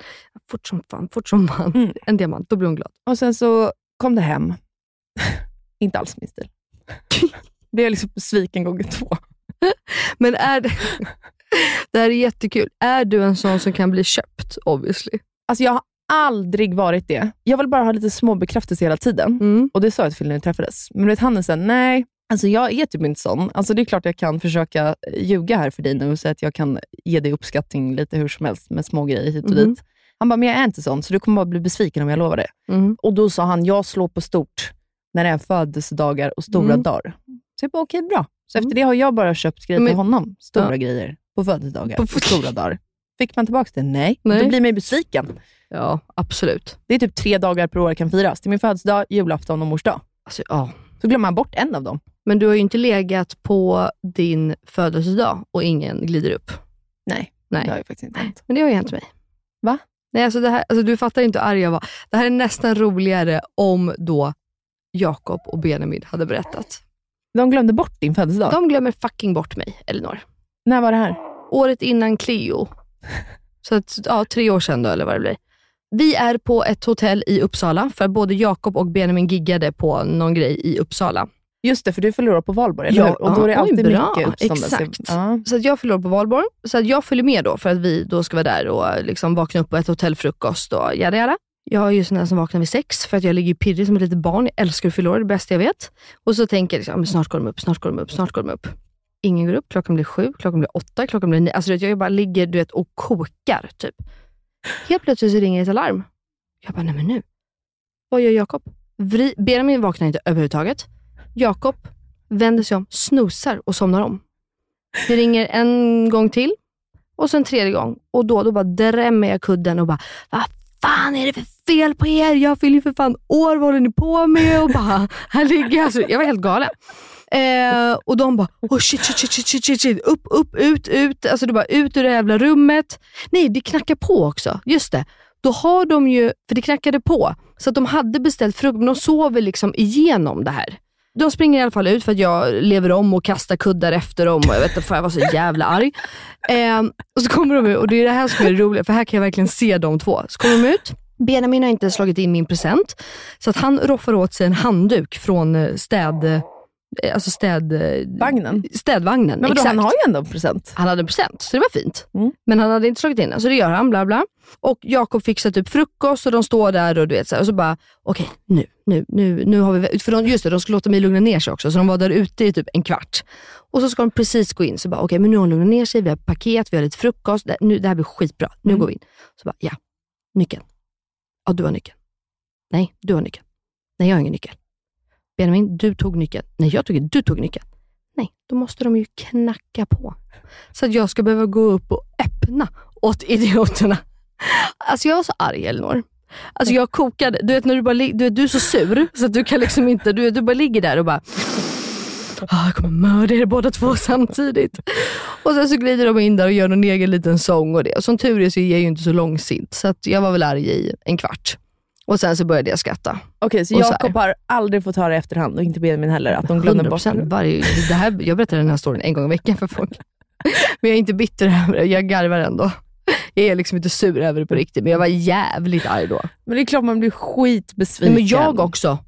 Speaker 2: Fort som fan, fort som fan.
Speaker 4: Mm.
Speaker 2: En diamant, då blir hon glad.
Speaker 4: Och sen så kom det hem. inte alls min stil. Blev liksom besviken gånger två.
Speaker 2: Men är det... det här är jättekul. Är du en sån som kan bli köpt, obviously?
Speaker 4: Alltså jag har aldrig varit det. Jag vill bara ha lite små bekräftelse hela tiden.
Speaker 2: Mm.
Speaker 4: Och det sa jag till Phil när vi träffades. Men du vet, han är såhär, nej, alltså jag är typ inte sån. Alltså det är klart jag kan försöka eh, ljuga här för dig nu och säga att jag kan ge dig uppskattning lite hur som helst med små grejer hit och
Speaker 2: Mhm.
Speaker 4: typ dit. Han bara, men jag är inte sån, så du kommer bara bli besviken om jag lovar det.
Speaker 2: Mm.
Speaker 4: Och då sa han, jag slår på stort när det är födelsedagar och stora
Speaker 2: Mm.
Speaker 4: dagar. Så jag bara, okej bra. Så efter
Speaker 2: Mm.
Speaker 4: det har jag bara köpt grejer till
Speaker 2: Men-
Speaker 4: honom. Stora
Speaker 2: Ja.
Speaker 4: grejer på födelsedagar
Speaker 2: På-
Speaker 4: och stora dagar. Fick man tillbaka det? Nej.
Speaker 2: Nej.
Speaker 4: Då blir man ju besviken.
Speaker 2: Ja, absolut.
Speaker 4: Det är typ tre dagar per år jag kan firas. Det är min födelsedag, julafton och mors dag.
Speaker 2: Alltså, ja.
Speaker 4: Så glömmer man bort en av dem.
Speaker 2: Men du har ju inte legat på din födelsedag och ingen glider upp.
Speaker 4: Nej,
Speaker 2: Nej.
Speaker 4: det har ju faktiskt inte hänt.
Speaker 2: Men det har ju hänt mig.
Speaker 4: Va?
Speaker 2: Nej, alltså det här, alltså du fattar inte hur arg jag var. Det här är nästan roligare om då Jakob och Benjamin hade berättat.
Speaker 4: De glömde bort din födelsedag.
Speaker 2: De glömmer fucking bort mig, Elinor.
Speaker 4: När var det här?
Speaker 2: Året innan Cleo. Så att, ja, tre år sedan då, eller vad det blir. Vi är på ett hotell i Uppsala, för både Jakob och Benjamin giggade på någon grej i Uppsala.
Speaker 4: Just det, för du förlorar på valborg, eller
Speaker 2: Ja,
Speaker 4: hur? Och då är det
Speaker 2: ja, oj,
Speaker 4: alltid
Speaker 2: bra,
Speaker 4: mycket uppståndelse.
Speaker 2: exakt.
Speaker 4: Ja.
Speaker 2: Så att jag fyller år på valborg. Så att jag följer med då för att vi då ska vara där och liksom vakna upp på ett hotellfrukost och jada jada. Jag är ju sån där som vaknar vid sex för att jag ligger ju pirrig som ett litet barn. Jag älskar att fylla år, det bästa jag vet. Och så tänker jag liksom, "Ja, men snart går de upp, snart går de upp, snart går de upp. Ingen går upp, klockan blir sju, klockan blir åtta, klockan blir nio. Alltså du vet, jag bara ligger du vet, och kokar typ. Helt plötsligt så ringer ett alarm. Jag bara, nej men nu. Vad gör Jakob? Vri- Benjamin vaknar inte överhuvudtaget. Jakob vänder sig om, snosar och somnar om. Det ringer en gång till och sen tredje gång. Och då, då bara drämmer jag kudden och bara, vad fan är det för fel på er? Jag fyller ju för fan år, vad håller ni på med? Och bara, här ligger jag. Alltså, jag var helt galen. Eh, och de bara, oh shit, shit, shit, shit, shit, shit, shit. upp, upp, ut, ut. Alltså det bara ut ur det jävla rummet. Nej, det knackar på också. Just det. Då har de ju, för det knackade på, så att de hade beställt frukost, men de sover liksom igenom det här. De springer i alla fall ut för att jag lever om och kastar kuddar efter dem och jag vet inte, för jag var så jävla arg. Ehm, och så kommer de ut och det är det här som är roligt för här kan jag verkligen se de två. Så kommer de ut, Benjamin har inte slagit in min present, så att han roffar åt sig en handduk från eh, städ... eh, alltså städ, eh,
Speaker 4: Vagnen.
Speaker 2: städvagnen.
Speaker 4: Men vadå,
Speaker 2: exakt.
Speaker 4: han har ju ändå en present.
Speaker 2: Han hade en present, så det var fint.
Speaker 4: Mm.
Speaker 2: Men han hade inte slagit in den, så det gör han. bla bla. Och Jakob fixar typ frukost och de står där och du vet så här, och så bara, okej nu, nu, nu, nu har vi... För de, just det, de skulle låta mig lugna ner sig också, så de var där ute i typ en kvart. Och så ska de precis gå in, så bara, okej men nu har hon lugnat ner sig, vi har paket, vi har lite frukost, det, nu, det här blir skitbra, nu går vi in. Så bara, ja, nyckeln. Ja, du har nyckeln. Nej, du har nyckeln. Nej, jag har ingen nyckel. Benjamin, du tog nyckeln. Nej, jag tog Du tog nyckeln. Nej, då måste de ju knacka på. Så att jag ska behöva gå upp och öppna åt idioterna. Alltså jag var så arg Elinor. Alltså jag kokade. Du vet när du bara lig- du, vet, du är så sur så att du kan liksom inte, du, vet, du bara ligger där och bara "Ah, jag kommer mörda er båda två samtidigt. Och sen så glider de in där och gör någon egen liten sång och det. Och som tur är så är jag ju inte så långsint, så att jag var väl arg i en kvart. Och sen så började jag skratta.
Speaker 4: Okej, så
Speaker 2: Och så här.
Speaker 4: Jakob har aldrig fått höra i efterhand, och inte Benjamin heller, att de glömde bort
Speaker 2: 100%
Speaker 4: honom.
Speaker 2: varje, det här, Jag berättar den här storyn en gång i veckan för folk. Men jag är inte bitter över det, jag garvar ändå. Jag är liksom inte sur över det på riktigt, men jag var jävligt arg då.
Speaker 4: Men det är klart man blir
Speaker 2: Nej,
Speaker 4: skitbesviken.
Speaker 2: men jag också.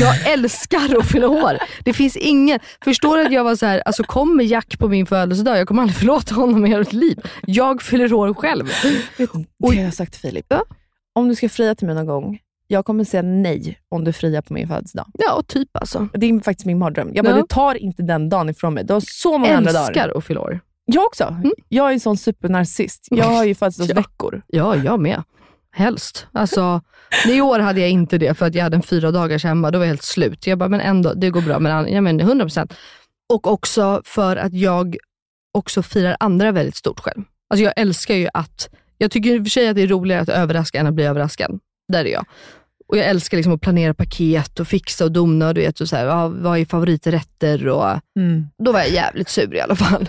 Speaker 2: Jag älskar att fylla år. Det finns ingen... Förstår du att jag var så här, alltså kommer Jack på min födelsedag, jag kommer aldrig förlåta honom i hela mitt liv. Jag fyller år själv.
Speaker 4: Det har jag sagt till Filip.
Speaker 2: Ja.
Speaker 4: Om du ska fria till mig någon gång, jag kommer säga nej om du friar på min födelsedag.
Speaker 2: Ja, typ alltså.
Speaker 4: Det är faktiskt min mardröm. Jag bara,
Speaker 2: Ja.
Speaker 4: du tar inte den dagen ifrån mig. Du har så många andra dagar.
Speaker 2: Älskar att fylla år.
Speaker 4: Jag också. Jag är en sån supernarcissist. Jag har ju födelsedagsveckor.
Speaker 2: Ja, jag med. Helst. Alltså, I år hade jag inte det för att jag hade en fyra dagars hemma. Då var jag helt slut. Jag bara, men ändå, det går bra. Men, jag menar, 100%. Och också för att jag också firar andra väldigt stort själv. Alltså jag älskar ju att, jag tycker i och för sig att det är roligare att överraska än att bli överraskad. Där är jag. Och jag älskar liksom att planera paket och fixa och dona och du vet, och så här, ja, vad är favoriträtter och
Speaker 4: Mm.
Speaker 2: då var jag jävligt sur i alla fall.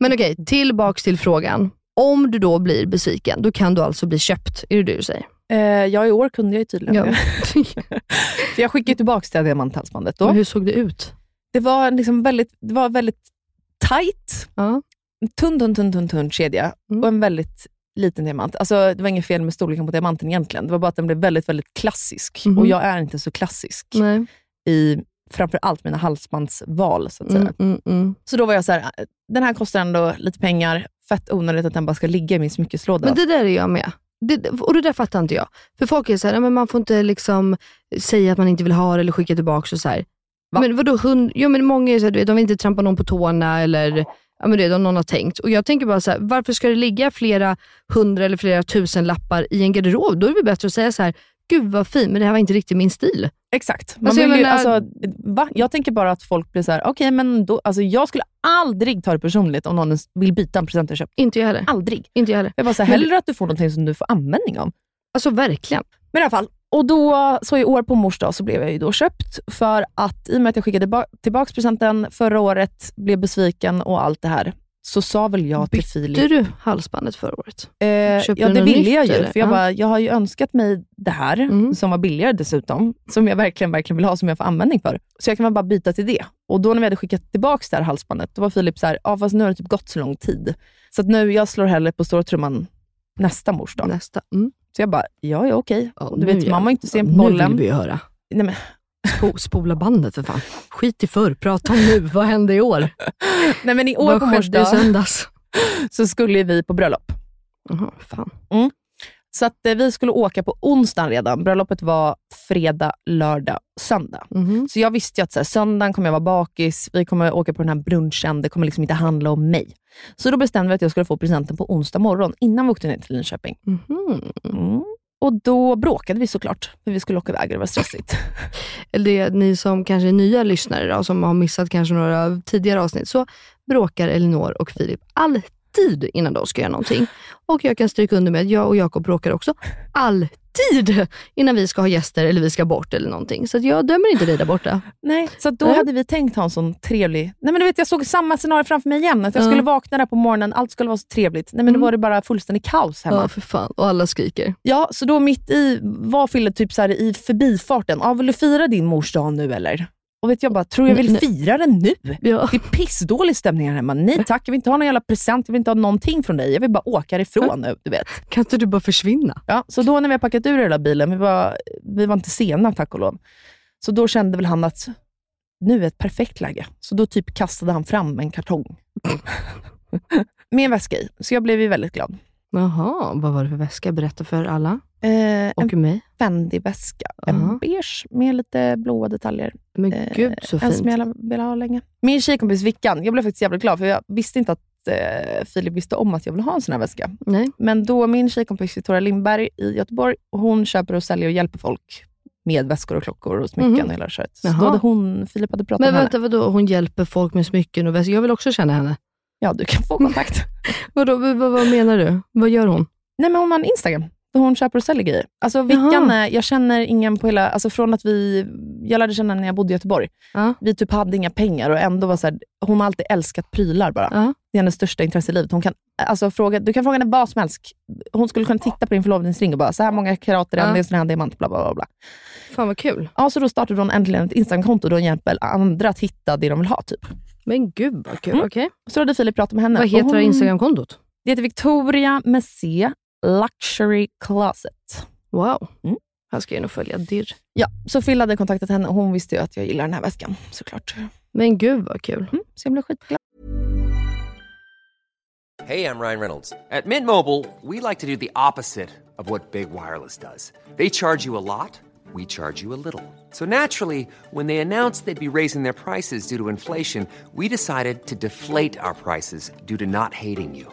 Speaker 2: Men okej, tillbaks till frågan. Om du då blir besviken, då kan du alltså bli köpt. Är det det du säger?
Speaker 4: Eh, ja, i år kunde jag ju tydligen det. För jag skickade tillbaka det här diamanthalsbandet
Speaker 2: Men
Speaker 4: då.
Speaker 2: hur såg det ut?
Speaker 4: Det var, liksom väldigt, det var väldigt tight.
Speaker 2: Ja.
Speaker 4: En tunn, tunn, tunn, tunn, tunn kedja
Speaker 2: Mm.
Speaker 4: och en väldigt liten diamant. Alltså, det var inget fel med storleken på diamanten egentligen. Det var bara att den blev väldigt, väldigt klassisk.
Speaker 2: Mhm.
Speaker 4: Och jag är inte så klassisk
Speaker 2: Nej. Mm,
Speaker 4: i framför allt mina halsbandsval. Så, att säga.
Speaker 2: Mm, mm, mm.
Speaker 4: så då var jag så här, "Äh, den här kostar ändå lite pengar. Fett onödigt att den bara ska ligga i min smyckeslåda.
Speaker 2: Men det där är jag med. Det, och det där fattar inte jag. För folk är så här, "Ja, men man får inte liksom säga att man inte vill ha det eller skicka tillbaka och så här. Men vadå, hund, ja, men många är så här, du vet, de vill inte trampa någon på tårna eller ja, men det, om någon har tänkt. Och jag tänker bara så här, varför ska det ligga flera hundra eller flera tusen lappar i en garderob? Då är det väl bättre att säga så här, gud vad fin, men det här var inte riktigt min stil.
Speaker 4: Exakt. Man
Speaker 2: Alltså, jag
Speaker 4: vill ju,
Speaker 2: menar-
Speaker 4: alltså, va? Jag tänker bara att folk blir så här, okej, men då, alltså, jag skulle aldrig ta det personligt om någon ens vill byta en present jag köpt.
Speaker 2: Inte jag heller.
Speaker 4: Aldrig.
Speaker 2: Inte jag heller.
Speaker 4: Jag bara, så här,
Speaker 2: Men-
Speaker 4: hellre att du får någonting som du får användning av.
Speaker 2: Alltså verkligen.
Speaker 4: Men i alla fall, och då, så i år på mors dag så blev jag ju då köpt för att i och med att jag skickade tillbaka presenten förra året, blev besviken och allt det här, så sa väl jag till Filip...
Speaker 2: Du du halsbandet förra året.
Speaker 4: Eh, ja,
Speaker 2: köpte
Speaker 4: det
Speaker 2: du något
Speaker 4: ville
Speaker 2: nytt,
Speaker 4: jag ju.
Speaker 2: eller?
Speaker 4: För jag,
Speaker 2: Ja.
Speaker 4: bara, jag har ju önskat mig det här,
Speaker 2: Mm.
Speaker 4: som var billigare dessutom, som jag verkligen, verkligen vill ha, som jag får användning för. Så jag kan väl bara byta till det. Och då när vi hade skickat tillbaka det här halsbandet, då var Filip så här, ja fast nu har det typ gått så lång tid. Så att nu, jag slår hellre på stora trumman nästa mors dag.
Speaker 2: Nästa. Mm.
Speaker 4: Så jag bara, ja, ja okej.
Speaker 2: Ja,
Speaker 4: du
Speaker 2: nu
Speaker 4: vet,
Speaker 2: jävlar.
Speaker 4: mamma är inte sen på
Speaker 2: Nu vill
Speaker 4: bollen.
Speaker 2: vi ju höra.
Speaker 4: Nej, men,
Speaker 2: Spo- Spola bandet för fan. Skit i förr, prata om nu. Vad hände i år?
Speaker 4: nej, men i år
Speaker 2: Vad
Speaker 4: på mors
Speaker 2: skedde i
Speaker 4: dag
Speaker 2: söndags?
Speaker 4: så skulle vi på bröllop. Mm.
Speaker 2: Jaha, fan.
Speaker 4: Så att eh, vi skulle åka på onsdagen redan. Bröllopet var fredag, lördag, söndag.
Speaker 2: Mhm.
Speaker 4: Så jag visste ju att så här, söndagen kommer jag vara bakis, vi kommer åka på den här brunchen, det kommer liksom inte handla om mig. Så då bestämde vi att jag skulle få presenten på onsdag morgon, innan vi åkte ner till Linköping.
Speaker 2: Mhm.
Speaker 4: Mm. Och då bråkade vi såklart, för vi skulle åka iväg och det var stressigt.
Speaker 2: Eller det, ni som kanske är nya lyssnare då, som har missat kanske några tidigare avsnitt, så bråkar Elinor och Filip alltid innan de ska göra någonting. Och jag kan stryka under med att jag och Jakob bråkar också alltid innan vi ska ha gäster eller vi ska bort eller någonting. Så att jag dömer inte dig där borta.
Speaker 4: Nej, så att då
Speaker 2: Mm.
Speaker 4: hade vi tänkt ha en sån trevlig... Nej men du vet, jag såg samma scenario framför mig igen. Att jag
Speaker 2: Mm.
Speaker 4: skulle vakna där på morgonen, allt skulle vara så trevligt. Nej men då var det bara fullständigt kaos hemma.
Speaker 2: Ja, för fan. Och alla skriker.
Speaker 4: Ja, så då mitt i var Fille typ så här i förbifarten. Ah, vill du fira din mors dag nu eller? Och vet jag bara, tror jag vill
Speaker 2: Nej.
Speaker 4: fira den nu?
Speaker 2: Ja.
Speaker 4: Det är pissdålig stämning här hemma. Nej tack, jag vill inte ha någon jävla present, jag vill inte ha någonting från dig. Jag vill bara åka härifrån nu, du vet.
Speaker 2: Kan inte du bara försvinna?
Speaker 4: Ja, så då när vi har packat ur hela bilen, vi var, vi var inte sena tack och lov. Så då kände väl han att, nu är ett perfekt läge. Så då typ kastade han fram en kartong. med en väska i. Så jag blev ju väldigt glad.
Speaker 2: Jaha, vad var det för väska? Berätta för alla
Speaker 4: Eh, en
Speaker 2: och mig.
Speaker 4: Fendi-väska.
Speaker 2: Aha.
Speaker 4: En beige med lite blåa detaljer.
Speaker 2: Men
Speaker 4: Eh,
Speaker 2: gud så
Speaker 4: En som
Speaker 2: fint.
Speaker 4: jag har velat ha länge. Min tjejkompis Vickan, jag blev faktiskt jävligt glad, för jag visste inte att eh, Filip visste om att jag ville ha en sån här väska.
Speaker 2: Nej.
Speaker 4: Men då min tjejkompis Victoria Lindberg i Göteborg, hon köper och säljer och hjälper folk med väskor och klockor och smycken
Speaker 2: Mhm.
Speaker 4: och hela köret. Så
Speaker 2: Jaha.
Speaker 4: då hade hon, Filip hade pratat
Speaker 2: Men
Speaker 4: med henne.
Speaker 2: vänta, vadå? Hon hjälper folk med smycken och väskor. Jag vill också känna henne.
Speaker 4: Ja, du kan få kontakt.
Speaker 2: Vadå, vad, vad, vad menar du? Vad gör hon?
Speaker 4: Nej, men hon har en Instagram där hon köper och säljer grejer. Alltså, Vickan,
Speaker 2: Jaha.
Speaker 4: är- jag känner ingen på hela... Alltså, från att vi, jag lärde känna henne när jag bodde i Göteborg.
Speaker 2: Ja.
Speaker 4: Vi typ hade inga pengar och ändå var så här, hon har alltid älskat prylar bara.
Speaker 2: Ja.
Speaker 4: Det är hennes största intresse i livet. Hon kan, alltså, fråga, du kan fråga henne vad som helst. Hon skulle kunna titta på din förlovningsring och bara, så här många karat är den,
Speaker 2: Ja.
Speaker 4: det är en sån här diamant, bla bla bla. bla.
Speaker 2: Fan vad kul.
Speaker 4: Ja, så då startade hon äntligen ett Instagramkonto där hon hjälper andra att hitta det de vill ha. typ.
Speaker 2: Men gud vad kul.
Speaker 4: Mm.
Speaker 2: Okej.
Speaker 4: Så då hade Filip pratat med henne.
Speaker 2: Vad
Speaker 4: och
Speaker 2: heter
Speaker 4: hon,
Speaker 2: Instagramkontot?
Speaker 4: Det heter Victoria med C, Luxury Closet.
Speaker 2: Wow.
Speaker 4: Mm.
Speaker 2: Han ska ju nog följa dirr.
Speaker 4: Ja, så Phil hade kontaktat henne och hon visste ju att jag gillar den här väskan såklart.
Speaker 2: Men gud vad kul.
Speaker 4: Mm, så jag blev skitglad.
Speaker 6: Hey, I'm Ryan Reynolds. At Mint Mobile, we like to do the opposite of what Big Wireless does. They charge you a lot, we charge you a little. So naturally, when they announced they'd be raising their prices due to inflation, we decided to deflate our prices due to not hating you.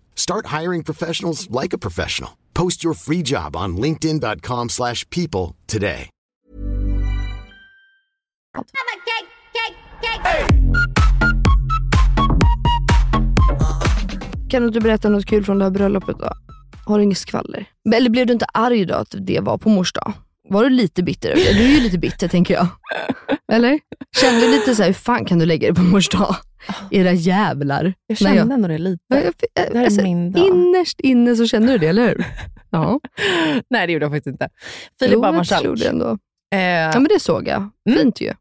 Speaker 7: Start hiring professionals like a professional. Post your free job on linkedin.com/people slash people today.
Speaker 2: Kan du inte berätta något kul från det här bröllopet då? Har du inget skvaller? Men- Eller blev du inte arg då att det var på mors dag? Var du lite bitter över det? Du är ju lite bitter tänker jag. Eller? Kände du lite så här, hur fan kan du lägga det på mors dag? Era jävlar.
Speaker 4: Jag
Speaker 2: Nej,
Speaker 4: kände ändå det lite.
Speaker 2: jag, jag, jag,
Speaker 4: det här är
Speaker 2: alltså,
Speaker 4: min dag.
Speaker 2: innerst inne så känner du det, eller hur? Ja.
Speaker 4: Nej, det gjorde jag faktiskt inte.
Speaker 2: Jo,
Speaker 4: Filip var
Speaker 2: jag tror det
Speaker 4: Marsalk.
Speaker 2: ändå. Ja,
Speaker 4: Eh,
Speaker 2: men det såg jag. Fint ju.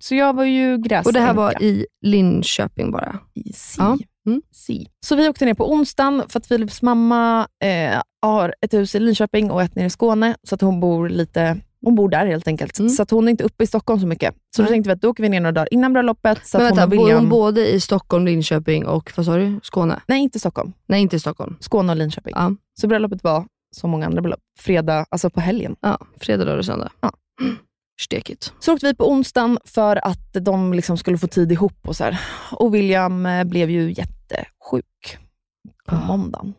Speaker 4: så jag var ju gräsänka.
Speaker 2: Och det här var i Linköping bara.
Speaker 4: i Si.
Speaker 2: Ja, mm.
Speaker 4: si. Så vi åkte ner på onsdagen för att Filips mamma eh, har ett hus i Linköping och ett nere i Skåne, så att hon bor lite hon bor där helt enkelt,
Speaker 2: Mm.
Speaker 4: så att hon är inte uppe i Stockholm så mycket. Så då
Speaker 2: Nej.
Speaker 4: tänkte vi att då åker vi ner några dagar innan bröllopet. Så
Speaker 2: Men
Speaker 4: att
Speaker 2: vänta,
Speaker 4: hon och
Speaker 2: bor
Speaker 4: William...
Speaker 2: hon både i Stockholm, Linköping och, vad sa du, Skåne?
Speaker 4: Nej, inte Stockholm.
Speaker 2: Nej, inte i Stockholm.
Speaker 4: Skåne och Linköping.
Speaker 2: Ja.
Speaker 4: Så bröllopet var, som många andra bröllop, fredag, alltså på helgen.
Speaker 2: Ja, fredag, lördag, söndag.
Speaker 4: Ja.
Speaker 2: Stekigt.
Speaker 4: Så åkte vi på onsdagen för att de liksom skulle få tid ihop. Och, så här. och William eh, blev ju jättesjuk på
Speaker 2: Ah.
Speaker 4: måndagen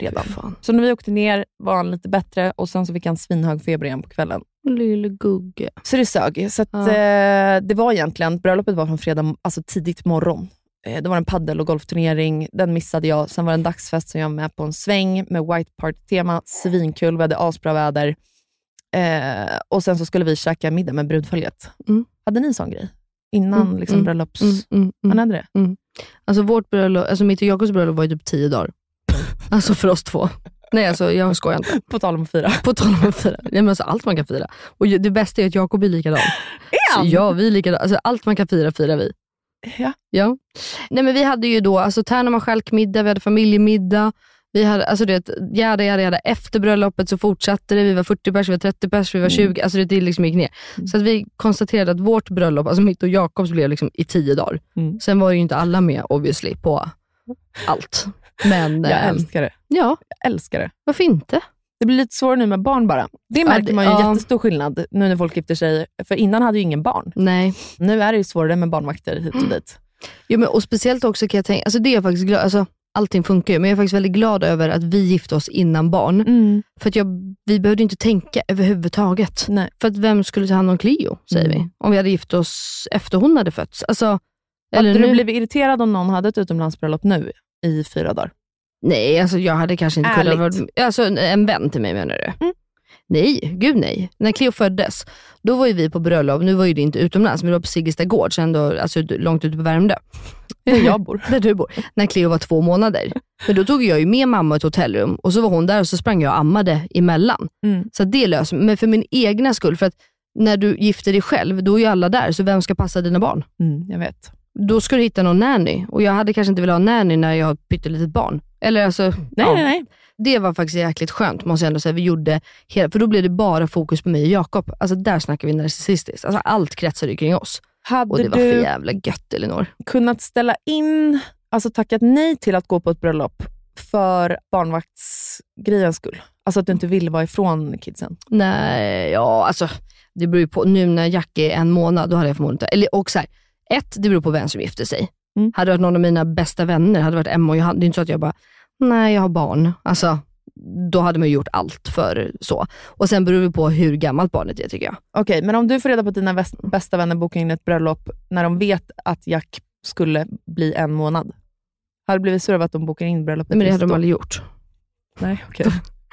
Speaker 4: redan.
Speaker 2: Fy fan.
Speaker 4: Så när vi åkte ner var han lite bättre och sen så fick han svinhög feber igen på kvällen.
Speaker 2: Lille gugge.
Speaker 4: Så det sög. Så att,
Speaker 2: Ja.
Speaker 4: eh, det var egentligen, bröllopet var från fredag, alltså tidigt morgon. Eh, det var en paddel och golfturnering, den missade jag. Sen var det en dagsfest som jag var med på en sväng med White Party-tema. Svinkul, vi hade asbra väder. Eh, och sen så skulle vi käka middag med brudföljet.
Speaker 2: Mm.
Speaker 4: Hade ni en sån grej? Innan
Speaker 2: Mm,
Speaker 4: liksom
Speaker 2: mm,
Speaker 4: bröllops...
Speaker 2: Mm, mm,
Speaker 4: Han
Speaker 2: mm.
Speaker 4: hade det?
Speaker 2: Alltså vårt bröllop, alltså mitt och Jakobs bröllop var ju typ tio dagar. Alltså för oss två. Nej, alltså jag skojar inte.
Speaker 4: På tal om att fira.
Speaker 2: På tal om att fira. Ja, men alltså allt man kan fira. Och ju- det bästa är att Jakob är likadan. Så
Speaker 4: han?
Speaker 2: ja, vi är likadana. Alltså allt man kan fira, firar vi.
Speaker 4: Ja.
Speaker 2: Ja. Nej men vi hade ju då alltså Tärnaman skälkmiddag, vi hade familjemiddag, vi hade, alltså du vet, jada, jada, jada. Efter bröllopet så fortsatte det, vi var 40 pers, vi var 30 pers, vi var
Speaker 4: Mm.
Speaker 2: 20, alltså det- det liksom gick ner. Så att vi konstaterade att vårt bröllop, alltså mitt och Jakobs blev liksom i 10 dagar.
Speaker 4: Mm.
Speaker 2: Sen var ju inte alla med obviously på allt. Men,
Speaker 4: jag
Speaker 2: ehm,
Speaker 4: älskar det.
Speaker 2: Ja.
Speaker 4: Jag älskar det.
Speaker 2: Varför inte?
Speaker 4: Det blir lite svårare nu med barn bara. Det
Speaker 2: Ja,
Speaker 4: märker
Speaker 2: det-
Speaker 4: man ju
Speaker 2: ja.
Speaker 4: jättestor skillnad nu när folk gifter sig. För innan hade ju ingen barn.
Speaker 2: Nej. Mm.
Speaker 4: Nu är det ju svårare med barnvakter hit och dit.
Speaker 2: Jo, men, och speciellt också kan jag tänka, alltså det är jag faktiskt glad, alltså, allting funkar ju, men jag är faktiskt väldigt glad över att vi gifte oss innan barn.
Speaker 4: Mm.
Speaker 2: För att jag, vi behövde inte tänka överhuvudtaget. För att vem skulle ta hand om Cleo, säger
Speaker 4: Mm.
Speaker 2: vi? Om vi hade gift oss efter hon hade fötts. Alltså,
Speaker 4: Hade
Speaker 2: eller
Speaker 4: du
Speaker 2: nu.
Speaker 4: blivit irriterad om någon hade ett utomlandsbröllop nu i fyra dagar?
Speaker 2: Nej, alltså jag hade kanske inte kunnat
Speaker 4: Ärligt. Mm.
Speaker 2: vara... Alltså en- en vän till mig menar du? Nej, gud nej. När Cleo föddes, då var ju vi på bröllop, nu var ju det inte utomlands, men det var på Siggesta gård, så ändå, alltså, ut- långt ute på Värmdö.
Speaker 4: Där jag bor.
Speaker 2: Där du bor. När Cleo var två månader. Men då tog jag ju med mamma i ett hotellrum och så var hon där och så sprang jag och ammade emellan.
Speaker 4: Mm.
Speaker 2: Så att det löser Men för min egna skull, för att när du gifter dig själv, då är ju alla där, så vem ska passa dina barn?
Speaker 4: Mm, jag vet.
Speaker 2: Då ska du hitta någon nanny och jag hade kanske inte velat ha nanny när jag har ett pyttelitet barn. Eller alltså,
Speaker 4: Nej, nej, nej.
Speaker 2: Det var faktiskt jäkligt skönt måste jag ändå säga. Vi gjorde hela, för då blev det bara fokus på mig och Jakob. Alltså där snackar vi narcissistiskt. Alltså allt kretsade ju kring oss. och
Speaker 4: Hade
Speaker 2: det var för
Speaker 4: du-
Speaker 2: jävla gött Elinor.
Speaker 4: Kunnat ställa in, alltså tackat nej till att gå på ett bröllop för barnvaktsgrejens skull? Alltså att du inte vill vara ifrån kidsen?
Speaker 2: Nej, ja alltså det beror ju på. Nu när Jack är en månad, då hade jag förmodligen inte... Eller, och så här, ett, det beror på vem som gifter sig. Hade det varit någon av mina bästa vänner, hade det varit Emma och Johanna, det är inte så att jag bara, nej jag har barn. Alltså, då hade man ju gjort allt för så. Och sen beror det på hur gammalt barnet är tycker jag.
Speaker 4: Okej, men om du får reda på att dina väst- bästa vänner bokar in ett bröllop när de vet att Jack skulle bli en månad. Hade du blivit sur över att de bokar in bröllopet
Speaker 2: Nej, men det
Speaker 4: just
Speaker 2: hade de
Speaker 4: då?
Speaker 2: aldrig gjort.
Speaker 4: Nej, okej.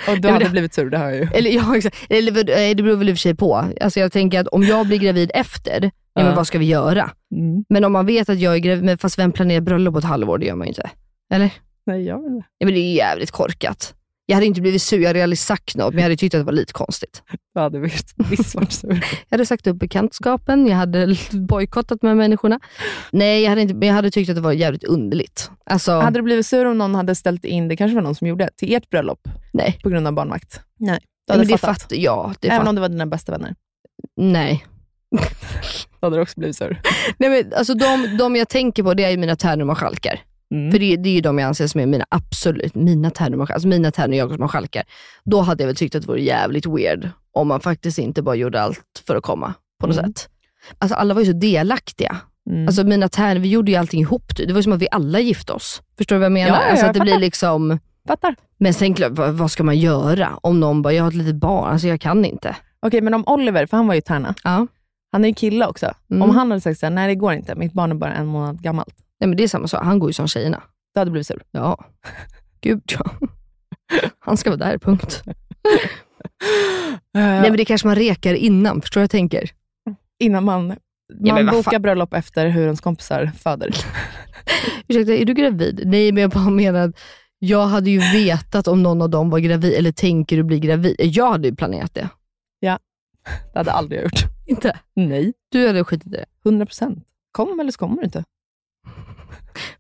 Speaker 4: Och du
Speaker 2: men
Speaker 4: hade
Speaker 2: det-
Speaker 4: blivit sur, det Eh, hör jag ju.
Speaker 2: Eller, ja, exakt. Eller, vad- eh, det beror väl i och för sig på. Alltså, jag tänker att om jag blir gravid efter, ja, men
Speaker 4: Ja.
Speaker 2: vad ska vi göra?
Speaker 4: Mm.
Speaker 2: Men om man vet att jag är gravid, men fast vem planerar bröllop på ett halvår? Det gör man ju inte. Eller?
Speaker 4: Nej, jag vet inte.
Speaker 2: Ja, men det är jävligt korkat. Jag hade inte blivit sur, jag hade aldrig sagt något, men jag hade tyckt att det var lite konstigt.
Speaker 4: Du hade visst, visst varit sur.
Speaker 2: Jag hade sagt upp bekantskapen, jag hade bojkottat med människorna. Nej, jag hade inte, men jag hade tyckt att det var jävligt underligt. Alltså,
Speaker 4: Hade du blivit sur om någon hade ställt in, det kanske var någon som gjorde, till ert bröllop
Speaker 2: nej.
Speaker 4: på grund av barnvakt? Nej. Du
Speaker 2: Men
Speaker 4: hade
Speaker 2: det
Speaker 4: fattat?
Speaker 2: fattar jag. Det
Speaker 4: Även
Speaker 2: fatt,
Speaker 4: om det var dina bästa vänner?
Speaker 2: Nej.
Speaker 4: Då hade du också blivit sur.
Speaker 2: Nej, men, alltså de, de jag tänker på det är ju mina tärnor och marskalkar.
Speaker 4: Mm.
Speaker 2: För det, det är ju de jag anser som är mina absolut, mina tärnor och marschal- alltså mina tärnor och Jakobs marskalkar. Då hade jag väl tyckt att det vore jävligt weird om man faktiskt inte bara gjorde allt för att komma på något sätt. Alltså alla var ju så delaktiga.
Speaker 4: Mm.
Speaker 2: Alltså mina tärnor, vi gjorde ju allting ihop. typ. Det var ju som att vi alla gifte oss. Förstår du vad jag menar?
Speaker 4: Ja, ja,
Speaker 2: alltså
Speaker 4: jag
Speaker 2: att det blir
Speaker 4: fattar.
Speaker 2: liksom,
Speaker 4: Fattar.
Speaker 2: men sen klart, vad, vad ska man göra om någon bara, jag har ett litet barn, alltså jag kan inte.
Speaker 4: Okej, men om Oliver, för han var ju tärna.
Speaker 2: Ja.
Speaker 4: Han är ju kille också.
Speaker 2: Mm.
Speaker 4: Om han hade sagt såhär, nej det går inte, mitt barn är bara en månad gammalt.
Speaker 2: Nej men det är samma sak, han går ju som tjejerna.
Speaker 4: Då hade du blivit sur.
Speaker 2: Ja, gud ja. Han ska vara där, punkt. Nej men det kanske man rekar innan, förstår du vad jag tänker?
Speaker 4: Innan man, man
Speaker 2: men vad
Speaker 4: bokar
Speaker 2: fan.
Speaker 4: bröllop efter hur ens kompisar föder.
Speaker 2: Ursäkta, är du gravid? Nej men jag bara menar att jag hade ju vetat om någon av dem var gravid, eller tänker du bli gravid? Jag hade ju planerat det.
Speaker 4: Det hade aldrig jag gjort.
Speaker 2: Inte?
Speaker 4: Nej,
Speaker 2: Du hade skitit i det.
Speaker 4: 100 procent. Kom eller så kommer du inte.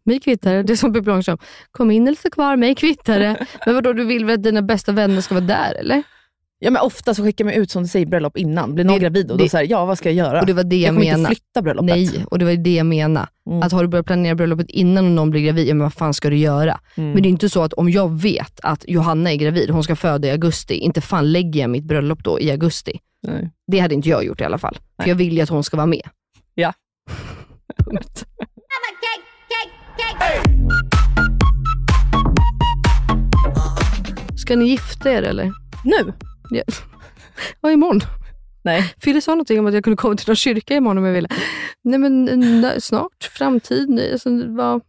Speaker 2: Mig kvittar det. Det är som Pippi Långstrump. Kom in eller stå kvar, mig kvittar det. Men vadå, du vill väl att dina bästa vänner ska vara där eller?
Speaker 4: Ja, men ofta så skickar man ut, som du säger, bröllop innan. Blir någon
Speaker 2: Det-
Speaker 4: gravid och
Speaker 2: det-
Speaker 4: då säger ja vad ska jag göra?
Speaker 2: Och det var det
Speaker 4: jag
Speaker 2: jag,
Speaker 4: kommer inte
Speaker 2: menade.
Speaker 4: flytta bröllopet.
Speaker 2: Nej, och det var ju det jag menade.
Speaker 4: Mm.
Speaker 2: Att har du börjat planera bröllopet innan och någon blir gravid, ja, men vad fan ska du göra?
Speaker 4: Mm.
Speaker 2: Men det är inte så att om jag vet att Johanna är gravid, hon ska föda i augusti, inte fan lägger jag mitt bröllop då i augusti.
Speaker 4: Nej.
Speaker 2: Det hade inte jag gjort i alla fall. För jag vill ju att hon ska vara med.
Speaker 4: Ja.
Speaker 2: Punkt. Ska ni gifta er eller?
Speaker 4: Nu?
Speaker 2: Ja, ja imorgon.
Speaker 4: Nej.
Speaker 2: Fille sa någonting om att jag kunde komma till någon kyrka imorgon om jag ville. Nej men n- snart, framtid, nej, alltså, vad...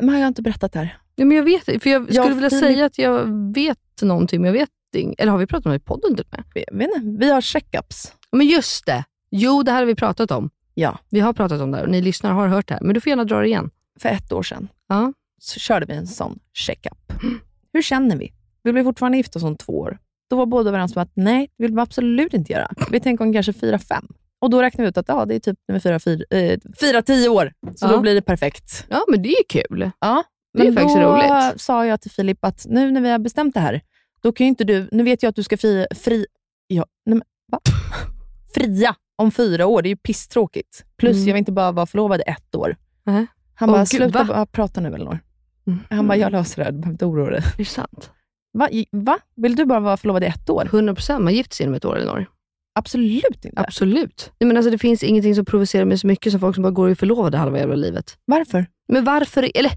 Speaker 4: Men har jag inte berättat det här?
Speaker 2: Ja, men jag vet för jag skulle
Speaker 4: Ja,
Speaker 2: vilja
Speaker 4: Filip-
Speaker 2: säga att jag vet någonting, men jag vet inget. Eller har vi pratat om det i podden till och med?
Speaker 4: Jag vet inte. Vi har checkups.
Speaker 2: Ja, Men just det! Jo, det här har vi pratat om.
Speaker 4: Ja,
Speaker 2: Vi har pratat om det här och ni lyssnare har hört det här. Men du får gärna dra det igen.
Speaker 4: för ett år sedan
Speaker 2: Ja.
Speaker 4: så körde vi en sån checkup. Hur känner vi? Vi blev fortfarande gifta som två år. Då var båda överens om att nej, det vill vi absolut inte göra. Vi tänker om kanske fyra, fem. Och då räknade vi ut att ja, det är typ nummer fyra, fyra, eh, fyra tio år. Så
Speaker 2: Ja.
Speaker 4: då blir det perfekt.
Speaker 2: ja, men det är ju kul.
Speaker 4: Ja,
Speaker 2: Det är
Speaker 4: men
Speaker 2: faktiskt
Speaker 4: då
Speaker 2: roligt.
Speaker 4: sa jag till Filip att nu när vi har bestämt det här, då kan ju inte du... Nu vet jag att du ska fri... fri ja, nej men, va? Fria om fyra år, det är ju pisstråkigt. Plus,
Speaker 2: Mm.
Speaker 4: jag vill inte bara vara förlovad i ett år.
Speaker 2: Nej.
Speaker 4: Han
Speaker 2: Åh,
Speaker 4: bara,
Speaker 2: gud,
Speaker 4: sluta
Speaker 2: va?" Mm.
Speaker 4: bara prata nu Elinor. Han bara, jag löser det här. Du behöver inte oroa dig.
Speaker 2: Det är sant.
Speaker 4: Va? I- Va? Vill du bara vara förlovad i ett år?
Speaker 2: 100% man gifter sig inom ett år eller Norge.
Speaker 4: Absolut inte.
Speaker 2: Absolut. Nej, men alltså, det finns ingenting som provocerar mig så mycket som folk som bara går och är förlovade halva jävla livet.
Speaker 4: Varför?
Speaker 2: Men varför? Eller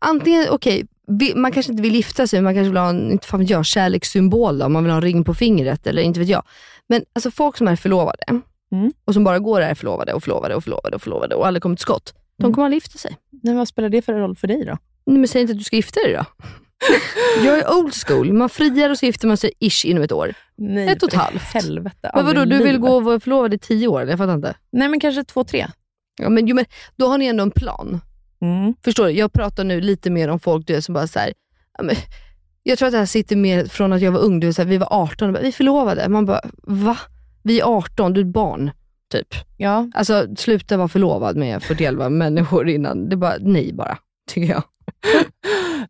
Speaker 2: antingen, okej, vi- man kanske inte vill gifta sig, man kanske vill ha en, inte fan vet jag, kärlekssymbol, då, om man vill ha en ring på fingret eller inte vet jag. Men alltså folk som är förlovade och som bara går och är förlovade och förlovade och förlovade och förlovade och aldrig kommer till skott, de kommer aldrig gifta sig.
Speaker 4: Nej, vad spelar det för roll för dig då?
Speaker 2: Nej, men säg inte att du ska gifta dig då. Jag är old school. Man friar och så gifter man sig ish inom ett år.
Speaker 4: Nej,
Speaker 2: ett och ett
Speaker 4: för
Speaker 2: halvt.
Speaker 4: Helvete.
Speaker 2: Men vadå,
Speaker 4: aldrig i
Speaker 2: du vill
Speaker 4: livet.
Speaker 2: gå och vara förlovad i tio år? eller? Jag fattar inte.
Speaker 4: Nej, men kanske två, tre.
Speaker 2: Ja, men, jo, men då har ni ändå en plan.
Speaker 4: Mm.
Speaker 2: Förstår du? Jag pratar nu lite mer om folk du vet, som bara så här, ja, men, jag tror att det här sitter mer från att jag var ung. Du vet, så här, vi var 18 och bara, vi förlovade. Man bara, va? Vi är 18, du är ett barn. Typ.
Speaker 4: Ja.
Speaker 2: Alltså sluta vara förlovad med 41 människor innan. Det är bara nej bara, tycker jag.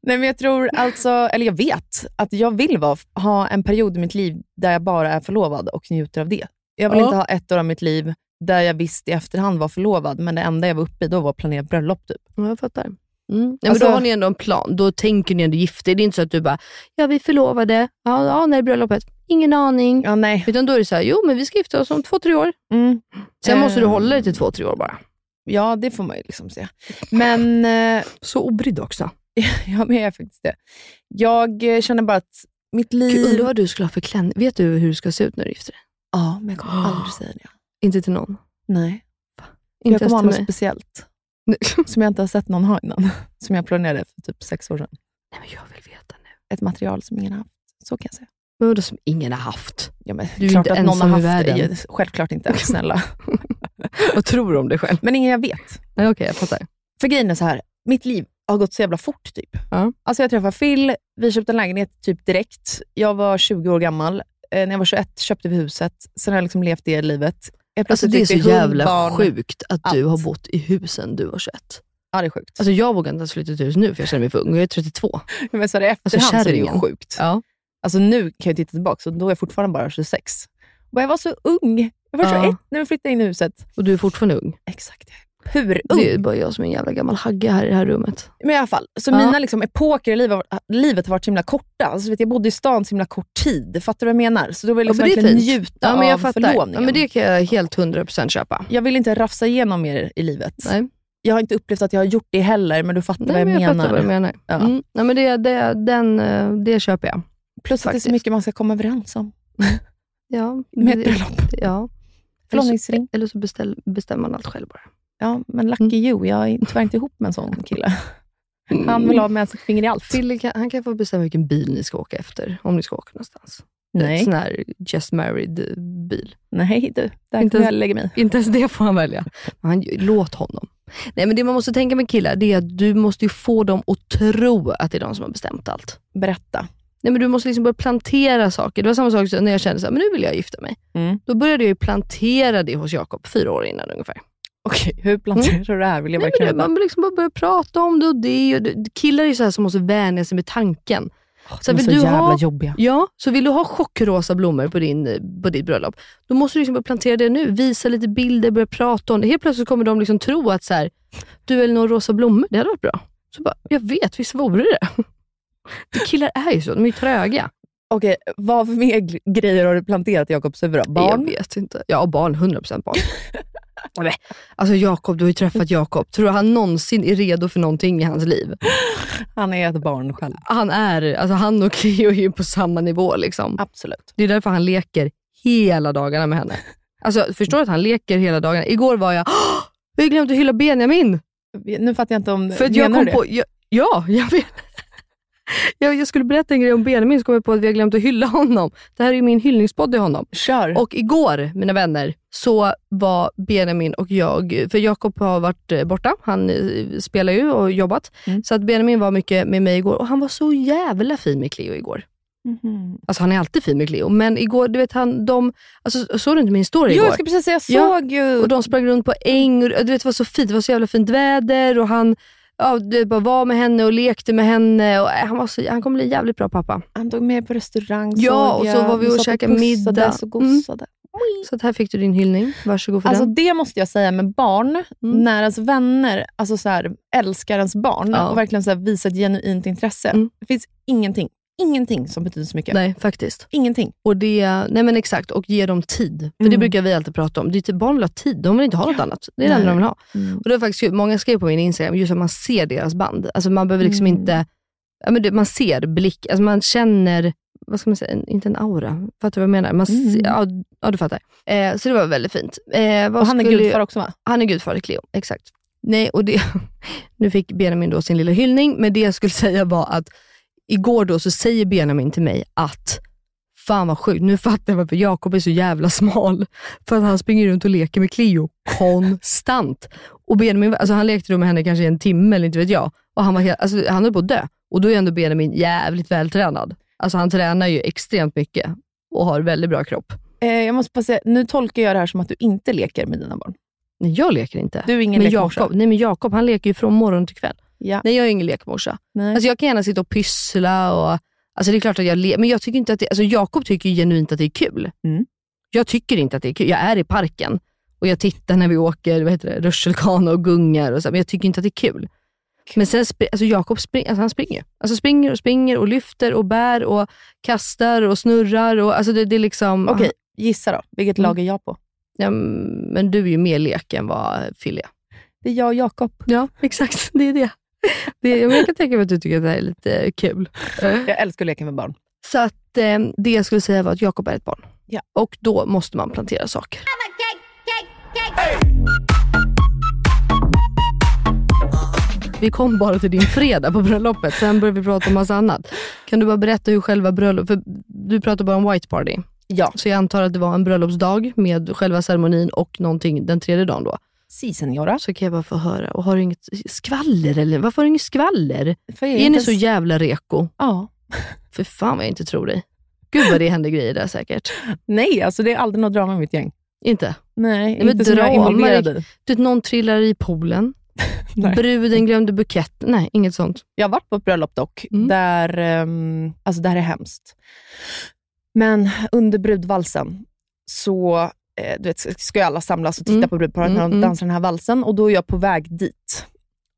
Speaker 4: Nej, men jag tror alltså, eller jag vet, att jag vill vara, ha en period i mitt liv där jag bara är förlovad och njuter av det. Jag vill
Speaker 2: Ja.
Speaker 4: inte ha ett år av mitt liv där jag visst i efterhand var förlovad, men det enda jag var uppe i då var planerat bröllop. Typ.
Speaker 2: Ja, jag fattar. Mm. Ja, men
Speaker 4: Alltså-
Speaker 2: då har ni ändå en plan. Då tänker ni ändå gifta er. Det är inte så att du bara, ja vi är förlovade. Ja, ja när är bröllopet? Ingen aning.
Speaker 4: Ja, nej.
Speaker 2: Utan då är det så här, jo men vi ska gifta oss om två, tre år.
Speaker 4: Mm.
Speaker 2: Sen måste du
Speaker 4: Eh.
Speaker 2: hålla dig till två, tre år bara.
Speaker 4: Ja, det får man ju liksom se. Men eh,
Speaker 2: Så obrydd också.
Speaker 4: ja, men jag är faktiskt det. Jag eh, känner bara att mitt
Speaker 2: Gud,
Speaker 4: liv...
Speaker 2: undrar vad du skulle ha för klänning. Vet du hur du ska se ut när du gifter dig?
Speaker 4: Ja, men jag kommer aldrig säga det.
Speaker 2: Inte till någon.
Speaker 4: Nej.
Speaker 2: Inte
Speaker 4: jag kommer ha
Speaker 2: ens till
Speaker 4: något
Speaker 2: mig.
Speaker 4: speciellt som jag inte har sett någon ha innan. Som jag planerade för typ sex år sedan.
Speaker 2: Nej, men jag vill veta nu.
Speaker 4: Ett material som ingen har haft. Så kan jag säga.
Speaker 2: Men vadå som ingen har haft?
Speaker 4: Ja, men,
Speaker 2: Du är
Speaker 4: klart
Speaker 2: inte
Speaker 4: att någon
Speaker 2: ensam i
Speaker 4: har haft
Speaker 2: världen.
Speaker 4: det. Självklart inte. Snälla.
Speaker 2: Vad tror du om dig själv?
Speaker 4: Men ingen jag vet. Alltså,
Speaker 2: Nej, okej, jag fattar.
Speaker 4: För grejen är så här, mitt liv har gått så jävla fort. typ.
Speaker 2: Ja.
Speaker 4: Alltså jag träffade Phil, vi köpte en lägenhet typ direkt. Jag var 20 år gammal. Eh, när jag var 21 köpte vi huset. Sen har jag liksom levt det livet. Jag
Speaker 2: Alltså,
Speaker 4: plötsligt
Speaker 2: det är så
Speaker 4: fick vi hund,
Speaker 2: jävla
Speaker 4: barn.
Speaker 2: sjukt att du
Speaker 4: allt.
Speaker 2: har bott i husen du var 21.
Speaker 4: Ja, det är sjukt.
Speaker 2: Alltså, jag vågar inte ens flytta till hus nu för jag känner mig för ung. Jag är 32.
Speaker 4: men så här, i
Speaker 2: Alltså,
Speaker 4: efterhand så är det ju
Speaker 2: kärringen.
Speaker 4: sjukt.
Speaker 2: Ja.
Speaker 4: Alltså nu kan jag titta tillbaka och då är jag fortfarande bara 26. Och jag var så ung. Jag var
Speaker 2: Ja.
Speaker 4: 21 när vi flyttade in i huset.
Speaker 2: Och du är fortfarande ung.
Speaker 4: Exakt. Hur
Speaker 2: Det är
Speaker 4: ung?
Speaker 2: bara jag som är en jävla gammal hagge här i det här rummet.
Speaker 4: Men i alla fall, så
Speaker 2: Ja.
Speaker 4: mina liksom, epoker i livet, livet har varit så himla korta. Alltså, vet, jag jag bodde i stan så himla kort tid. Fattar du vad jag menar? Så då vill jag
Speaker 2: Ja,
Speaker 4: liksom
Speaker 2: men det är
Speaker 4: verkligen
Speaker 2: fint.
Speaker 4: njuta
Speaker 2: ja, men jag
Speaker 4: av
Speaker 2: fattar. ja,
Speaker 4: förlovningen.
Speaker 2: men Det kan jag helt 100% köpa.
Speaker 4: Jag vill inte rafsa igenom mer i livet.
Speaker 2: Nej.
Speaker 4: Jag har inte upplevt att jag har gjort det heller, men du fattar
Speaker 2: Nej,
Speaker 4: vad jag,
Speaker 2: men jag
Speaker 4: menar.
Speaker 2: fattar vad du menar.
Speaker 4: Ja.
Speaker 2: Mm. Nej, men det, det, den, eh, det köper jag.
Speaker 4: Plus att det är
Speaker 2: Faktiskt.
Speaker 4: så mycket man ska komma överens om.
Speaker 2: Ja,
Speaker 4: Med ett
Speaker 2: det-
Speaker 4: bröllop.
Speaker 2: Ja.
Speaker 4: Förlovningsring.
Speaker 2: Eller så beställ, bestämmer man allt själv bara.
Speaker 4: Ja, men lucky
Speaker 2: Mm.
Speaker 4: you. Jag är tyvärr inte ihop med en sån kille. Han
Speaker 8: Mm.
Speaker 4: vill ha med sitt finger i allt.
Speaker 2: Fille kan, han kan få bestämma vilken bil ni ska åka efter, om ni ska åka någonstans. En
Speaker 4: Nej.
Speaker 2: sån här just eh, married-bil.
Speaker 4: Nej du, där
Speaker 2: Inte
Speaker 4: kommer
Speaker 2: ens-
Speaker 4: jag lägga mig i.
Speaker 2: Inte ens det får han välja. Men han, låt honom. Nej, men Det man måste tänka med killar, det är att du måste ju få dem att tro att det är de som har bestämt allt.
Speaker 4: Berätta.
Speaker 2: Nej, men du måste liksom börja plantera saker. Det var samma sak som när jag kände att nu vill jag gifta mig.
Speaker 4: Mm.
Speaker 2: Då började jag ju plantera det hos Jakob fyra år innan ungefär.
Speaker 4: Okej, hur planterar du det här? Vill jag
Speaker 2: Nej,
Speaker 4: verkligen
Speaker 2: men du,
Speaker 4: veta.
Speaker 2: man liksom bara börjar prata om det och det. Och det. Killar är ju så här som måste vänja sig med tanken.
Speaker 4: De är
Speaker 2: vill
Speaker 4: så
Speaker 2: du
Speaker 4: jävla
Speaker 2: ha-
Speaker 4: jobbiga.
Speaker 2: Ja, så vill du ha chockrosa blommor på, din, på ditt bröllop, då måste du liksom börja plantera det nu. Visa lite bilder, börja prata om det. Helt plötsligt kommer de liksom tro att så här, du eller någon rosa blommor, det hade varit bra. Så bara, jag vet, visst vore det? det killar är ju så, de är ju tröga.
Speaker 4: Okej, vad för mer gl- grejer har du planterat i Jakobs huvud då?
Speaker 2: Jag
Speaker 4: Barn?
Speaker 2: vet inte. Ja, barn. 100% barn. Nej, alltså Jakob, du har ju träffat Jakob. Tror du han någonsin är redo för någonting i hans liv?
Speaker 4: Han är ett barn själv.
Speaker 2: Han är, alltså han och Keyyo är ju på samma nivå. Liksom.
Speaker 4: Absolut.
Speaker 2: Det är därför han leker hela dagarna med henne. Alltså, förstår du att han leker hela dagarna? Igår var jag, "Åh, vi har glömt att hylla Benjamin.
Speaker 4: Nu fattar jag inte om...
Speaker 2: För att jag
Speaker 4: menar
Speaker 2: kom
Speaker 4: du det?
Speaker 2: på, jag, ja, jag vet. Jag, jag skulle berätta en grej om Benjamin, så kom jag på att vi har glömt att hylla honom. Det här är ju min hyllningspodd till honom.
Speaker 4: Kör.
Speaker 2: Och igår, mina vänner, så var Benjamin och jag, för Jakob har varit eh, borta, han eh, spelar ju och jobbat.
Speaker 4: Mm.
Speaker 2: Så att Benjamin var mycket med mig igår och han var så jävla fin med Cleo igår.
Speaker 4: Mhm.
Speaker 2: Alltså han är alltid fin med Cleo, men igår, du vet han, de, alltså såg du inte min story
Speaker 4: Jo,
Speaker 2: igår?
Speaker 4: jag ska precis säga, jag
Speaker 2: Ja,
Speaker 4: såg ju...
Speaker 2: Och de sprang runt på äng och du vet det var så fint, det var så jävla fint väder och han Ja, du vet, bara var med henne och lekte med henne. Och eh, han, var så, han kommer bli en jävligt bra pappa.
Speaker 4: Han tog med på restaurang,
Speaker 2: Ja,
Speaker 4: såg
Speaker 2: och
Speaker 4: jag.
Speaker 2: så var vi
Speaker 4: De
Speaker 2: och
Speaker 4: satt
Speaker 2: käkade
Speaker 4: pussade
Speaker 2: middag.
Speaker 4: och gosade.
Speaker 2: Så att här fick du din hyllning. Varsågod för
Speaker 4: Mm. Alltså
Speaker 2: den.
Speaker 4: det måste jag säga med barn, när ens vänner alltså så här, älskar ens barn
Speaker 2: Ja.
Speaker 4: och verkligen så här, visar ett genuint intresse. Det finns ingenting, ingenting som betyder så mycket.
Speaker 2: Nej, faktiskt.
Speaker 4: Ingenting.
Speaker 2: Och det, nej men exakt, och ge dem tid. För det
Speaker 4: Mm.
Speaker 2: brukar vi alltid prata om. Det är typ, barn vill ha tid, de vill inte ha något annat. Det är det
Speaker 4: Nej.
Speaker 2: enda de vill ha.
Speaker 4: Mm.
Speaker 2: Och det var faktiskt kul. Många skrev på min Instagram just att man ser deras band. Alltså man behöver liksom
Speaker 4: Mm.
Speaker 2: inte, ja, men det, man ser blick, alltså man känner, vad ska man säga, en, inte en aura. Fattar du vad jag menar? Man
Speaker 4: Mm.
Speaker 2: ser, ja, ja, du fattar. Eh, så det var väldigt fint. Eh, vad
Speaker 4: Och han är
Speaker 2: skulle-
Speaker 4: gudfar också va?
Speaker 2: Han är gudfar i Cleo, exakt. Nej, och det, nu fick Benjamin då sin lilla hyllning, men det jag skulle säga var att igår då så säger Benjamin till mig att, fan vad sjukt, nu fattar jag varför Jakob är så jävla smal. För att han springer runt och leker med Cleo konstant. Och Benjamin, alltså han lekte då med henne kanske i en timme eller inte vet jag. Och han, var helt, alltså, han höll på att dö. Och då är ändå Benjamin jävligt vältränad. Alltså han tränar ju extremt mycket och har väldigt bra kropp.
Speaker 4: Eh, jag måste bara säga, nu tolkar jag det här som att du inte leker med dina barn.
Speaker 2: Nej, jag leker inte.
Speaker 4: Du är ingen
Speaker 2: men
Speaker 4: lekmorsa.
Speaker 2: Jakob, nej men Jakob, han leker ju från morgon till kväll.
Speaker 4: Ja.
Speaker 2: Nej, jag är ingen lekmorsa.
Speaker 4: Nej.
Speaker 2: Alltså, jag kan gärna sitta och pyssla och... Alltså, det är klart att jag le- men jag tycker inte att det, alltså, Jakob tycker ju genuint att det är kul.
Speaker 4: Mm.
Speaker 2: Jag tycker inte att det är kul. Jag är i parken och jag tittar när vi åker vad heter det, rutschkana och gungar, och så, men jag tycker inte att det är kul. Men sen, spri- alltså Jakob spring- alltså han springer Alltså springer och springer och lyfter och bär och kastar och snurrar. Och, alltså det, det är liksom... Mm.
Speaker 4: Okej, gissa då. Vilket lag är jag på?
Speaker 2: Ja, men du är ju mer lek än vad Fille är.
Speaker 4: Det är jag och Jakob.
Speaker 2: Ja, exakt. Det är det. det men jag kan tänka mig att du tycker att det här är lite kul.
Speaker 4: Jag älskar att leka med barn.
Speaker 2: Så att eh, det jag skulle säga var att Jakob är ett barn.
Speaker 4: Ja.
Speaker 2: Och då måste man plantera saker. Vi kom bara till din fredag på bröllopet, sen började vi prata om massa annat. Kan du bara berätta hur själva bröllopet, för du pratar bara om white party.
Speaker 4: Ja.
Speaker 2: Så jag antar att det var en bröllopsdag med själva ceremonin och någonting den tredje dagen då.
Speaker 4: Si senora.
Speaker 2: Så kan jag bara få höra, och har du inget skvaller eller? Varför har du inget skvaller?
Speaker 4: För jag
Speaker 2: Är ni
Speaker 4: inte
Speaker 2: så
Speaker 4: ens-
Speaker 2: jävla reko?
Speaker 4: Ja.
Speaker 2: För fan vad jag inte tror dig. Gud vad det händer grejer där säkert.
Speaker 4: Nej, alltså det är aldrig något drama i mitt gäng.
Speaker 2: Inte?
Speaker 4: Nej,
Speaker 2: men
Speaker 4: inte som jag är
Speaker 2: drama,
Speaker 4: involverad i.
Speaker 2: Du vet, någon trillar i poolen.
Speaker 4: Nej.
Speaker 2: Bruden glömde buketten. Nej, inget sånt.
Speaker 4: Jag har varit på ett bröllop dock,
Speaker 2: Mm.
Speaker 4: där, ehm, alltså det här är hemskt. Men under brudvalsen så eh, du vet, ska ju alla samlas och titta
Speaker 2: Mm.
Speaker 4: på brudparet
Speaker 2: Mm,
Speaker 4: när de
Speaker 2: mm.
Speaker 4: dansar den här valsen och då är jag på väg dit.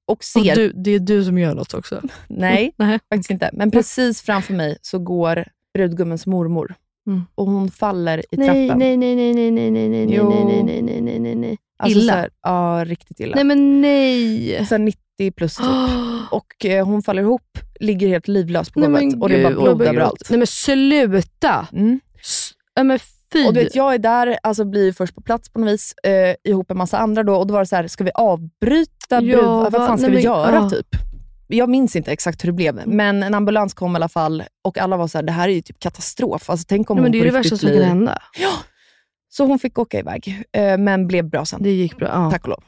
Speaker 4: Och
Speaker 2: Och
Speaker 4: ser,
Speaker 2: du, det är du som gör något också.
Speaker 4: nej
Speaker 2: Nej.
Speaker 4: faktiskt inte, men precis framför mig så går brudgummens mormor
Speaker 2: Mm.
Speaker 4: och hon faller i
Speaker 2: Nej,
Speaker 4: trappen.
Speaker 2: nej, nej, nej, nej, nej, nej, nej, nej,
Speaker 4: Jo.
Speaker 2: nej, nej, nej, nej, nej, nej.
Speaker 4: Alltså
Speaker 2: illa.
Speaker 4: så här, ja, riktigt illa.
Speaker 2: Nej, men nej.
Speaker 4: Sen 90 plus typ.
Speaker 2: Åh,
Speaker 4: Och eh, hon faller ihop, ligger helt livlös på
Speaker 2: nej,
Speaker 4: golvet
Speaker 2: men
Speaker 4: och det är
Speaker 2: gud,
Speaker 4: bara blod
Speaker 2: vad
Speaker 4: överallt.
Speaker 2: Nej, men sluta.
Speaker 4: Mm.
Speaker 2: S- Ja, men fy.
Speaker 4: Och du vet, jag är där, alltså blir först på plats på något vis, eh, ihop med massa andra då, och då var det så här, ska vi avbryta
Speaker 2: Ja,
Speaker 4: brud... Vad
Speaker 2: va-
Speaker 4: fan ska
Speaker 2: nej,
Speaker 4: vi
Speaker 2: men-
Speaker 4: göra
Speaker 2: ja. Mm.
Speaker 4: typ? Jag minns inte exakt hur det blev, men en ambulans kom i alla fall och alla var så här, det här är ju typ katastrof. Alltså, tänk om
Speaker 2: nej, men
Speaker 4: hon
Speaker 2: det är
Speaker 4: på
Speaker 2: det
Speaker 4: riktigt
Speaker 2: värsta som kan
Speaker 4: blir-
Speaker 2: hända.
Speaker 4: Ja! Så hon fick åka iväg, eh, men blev bra sen.
Speaker 2: Det gick bra. Ja.
Speaker 4: Tack och lov.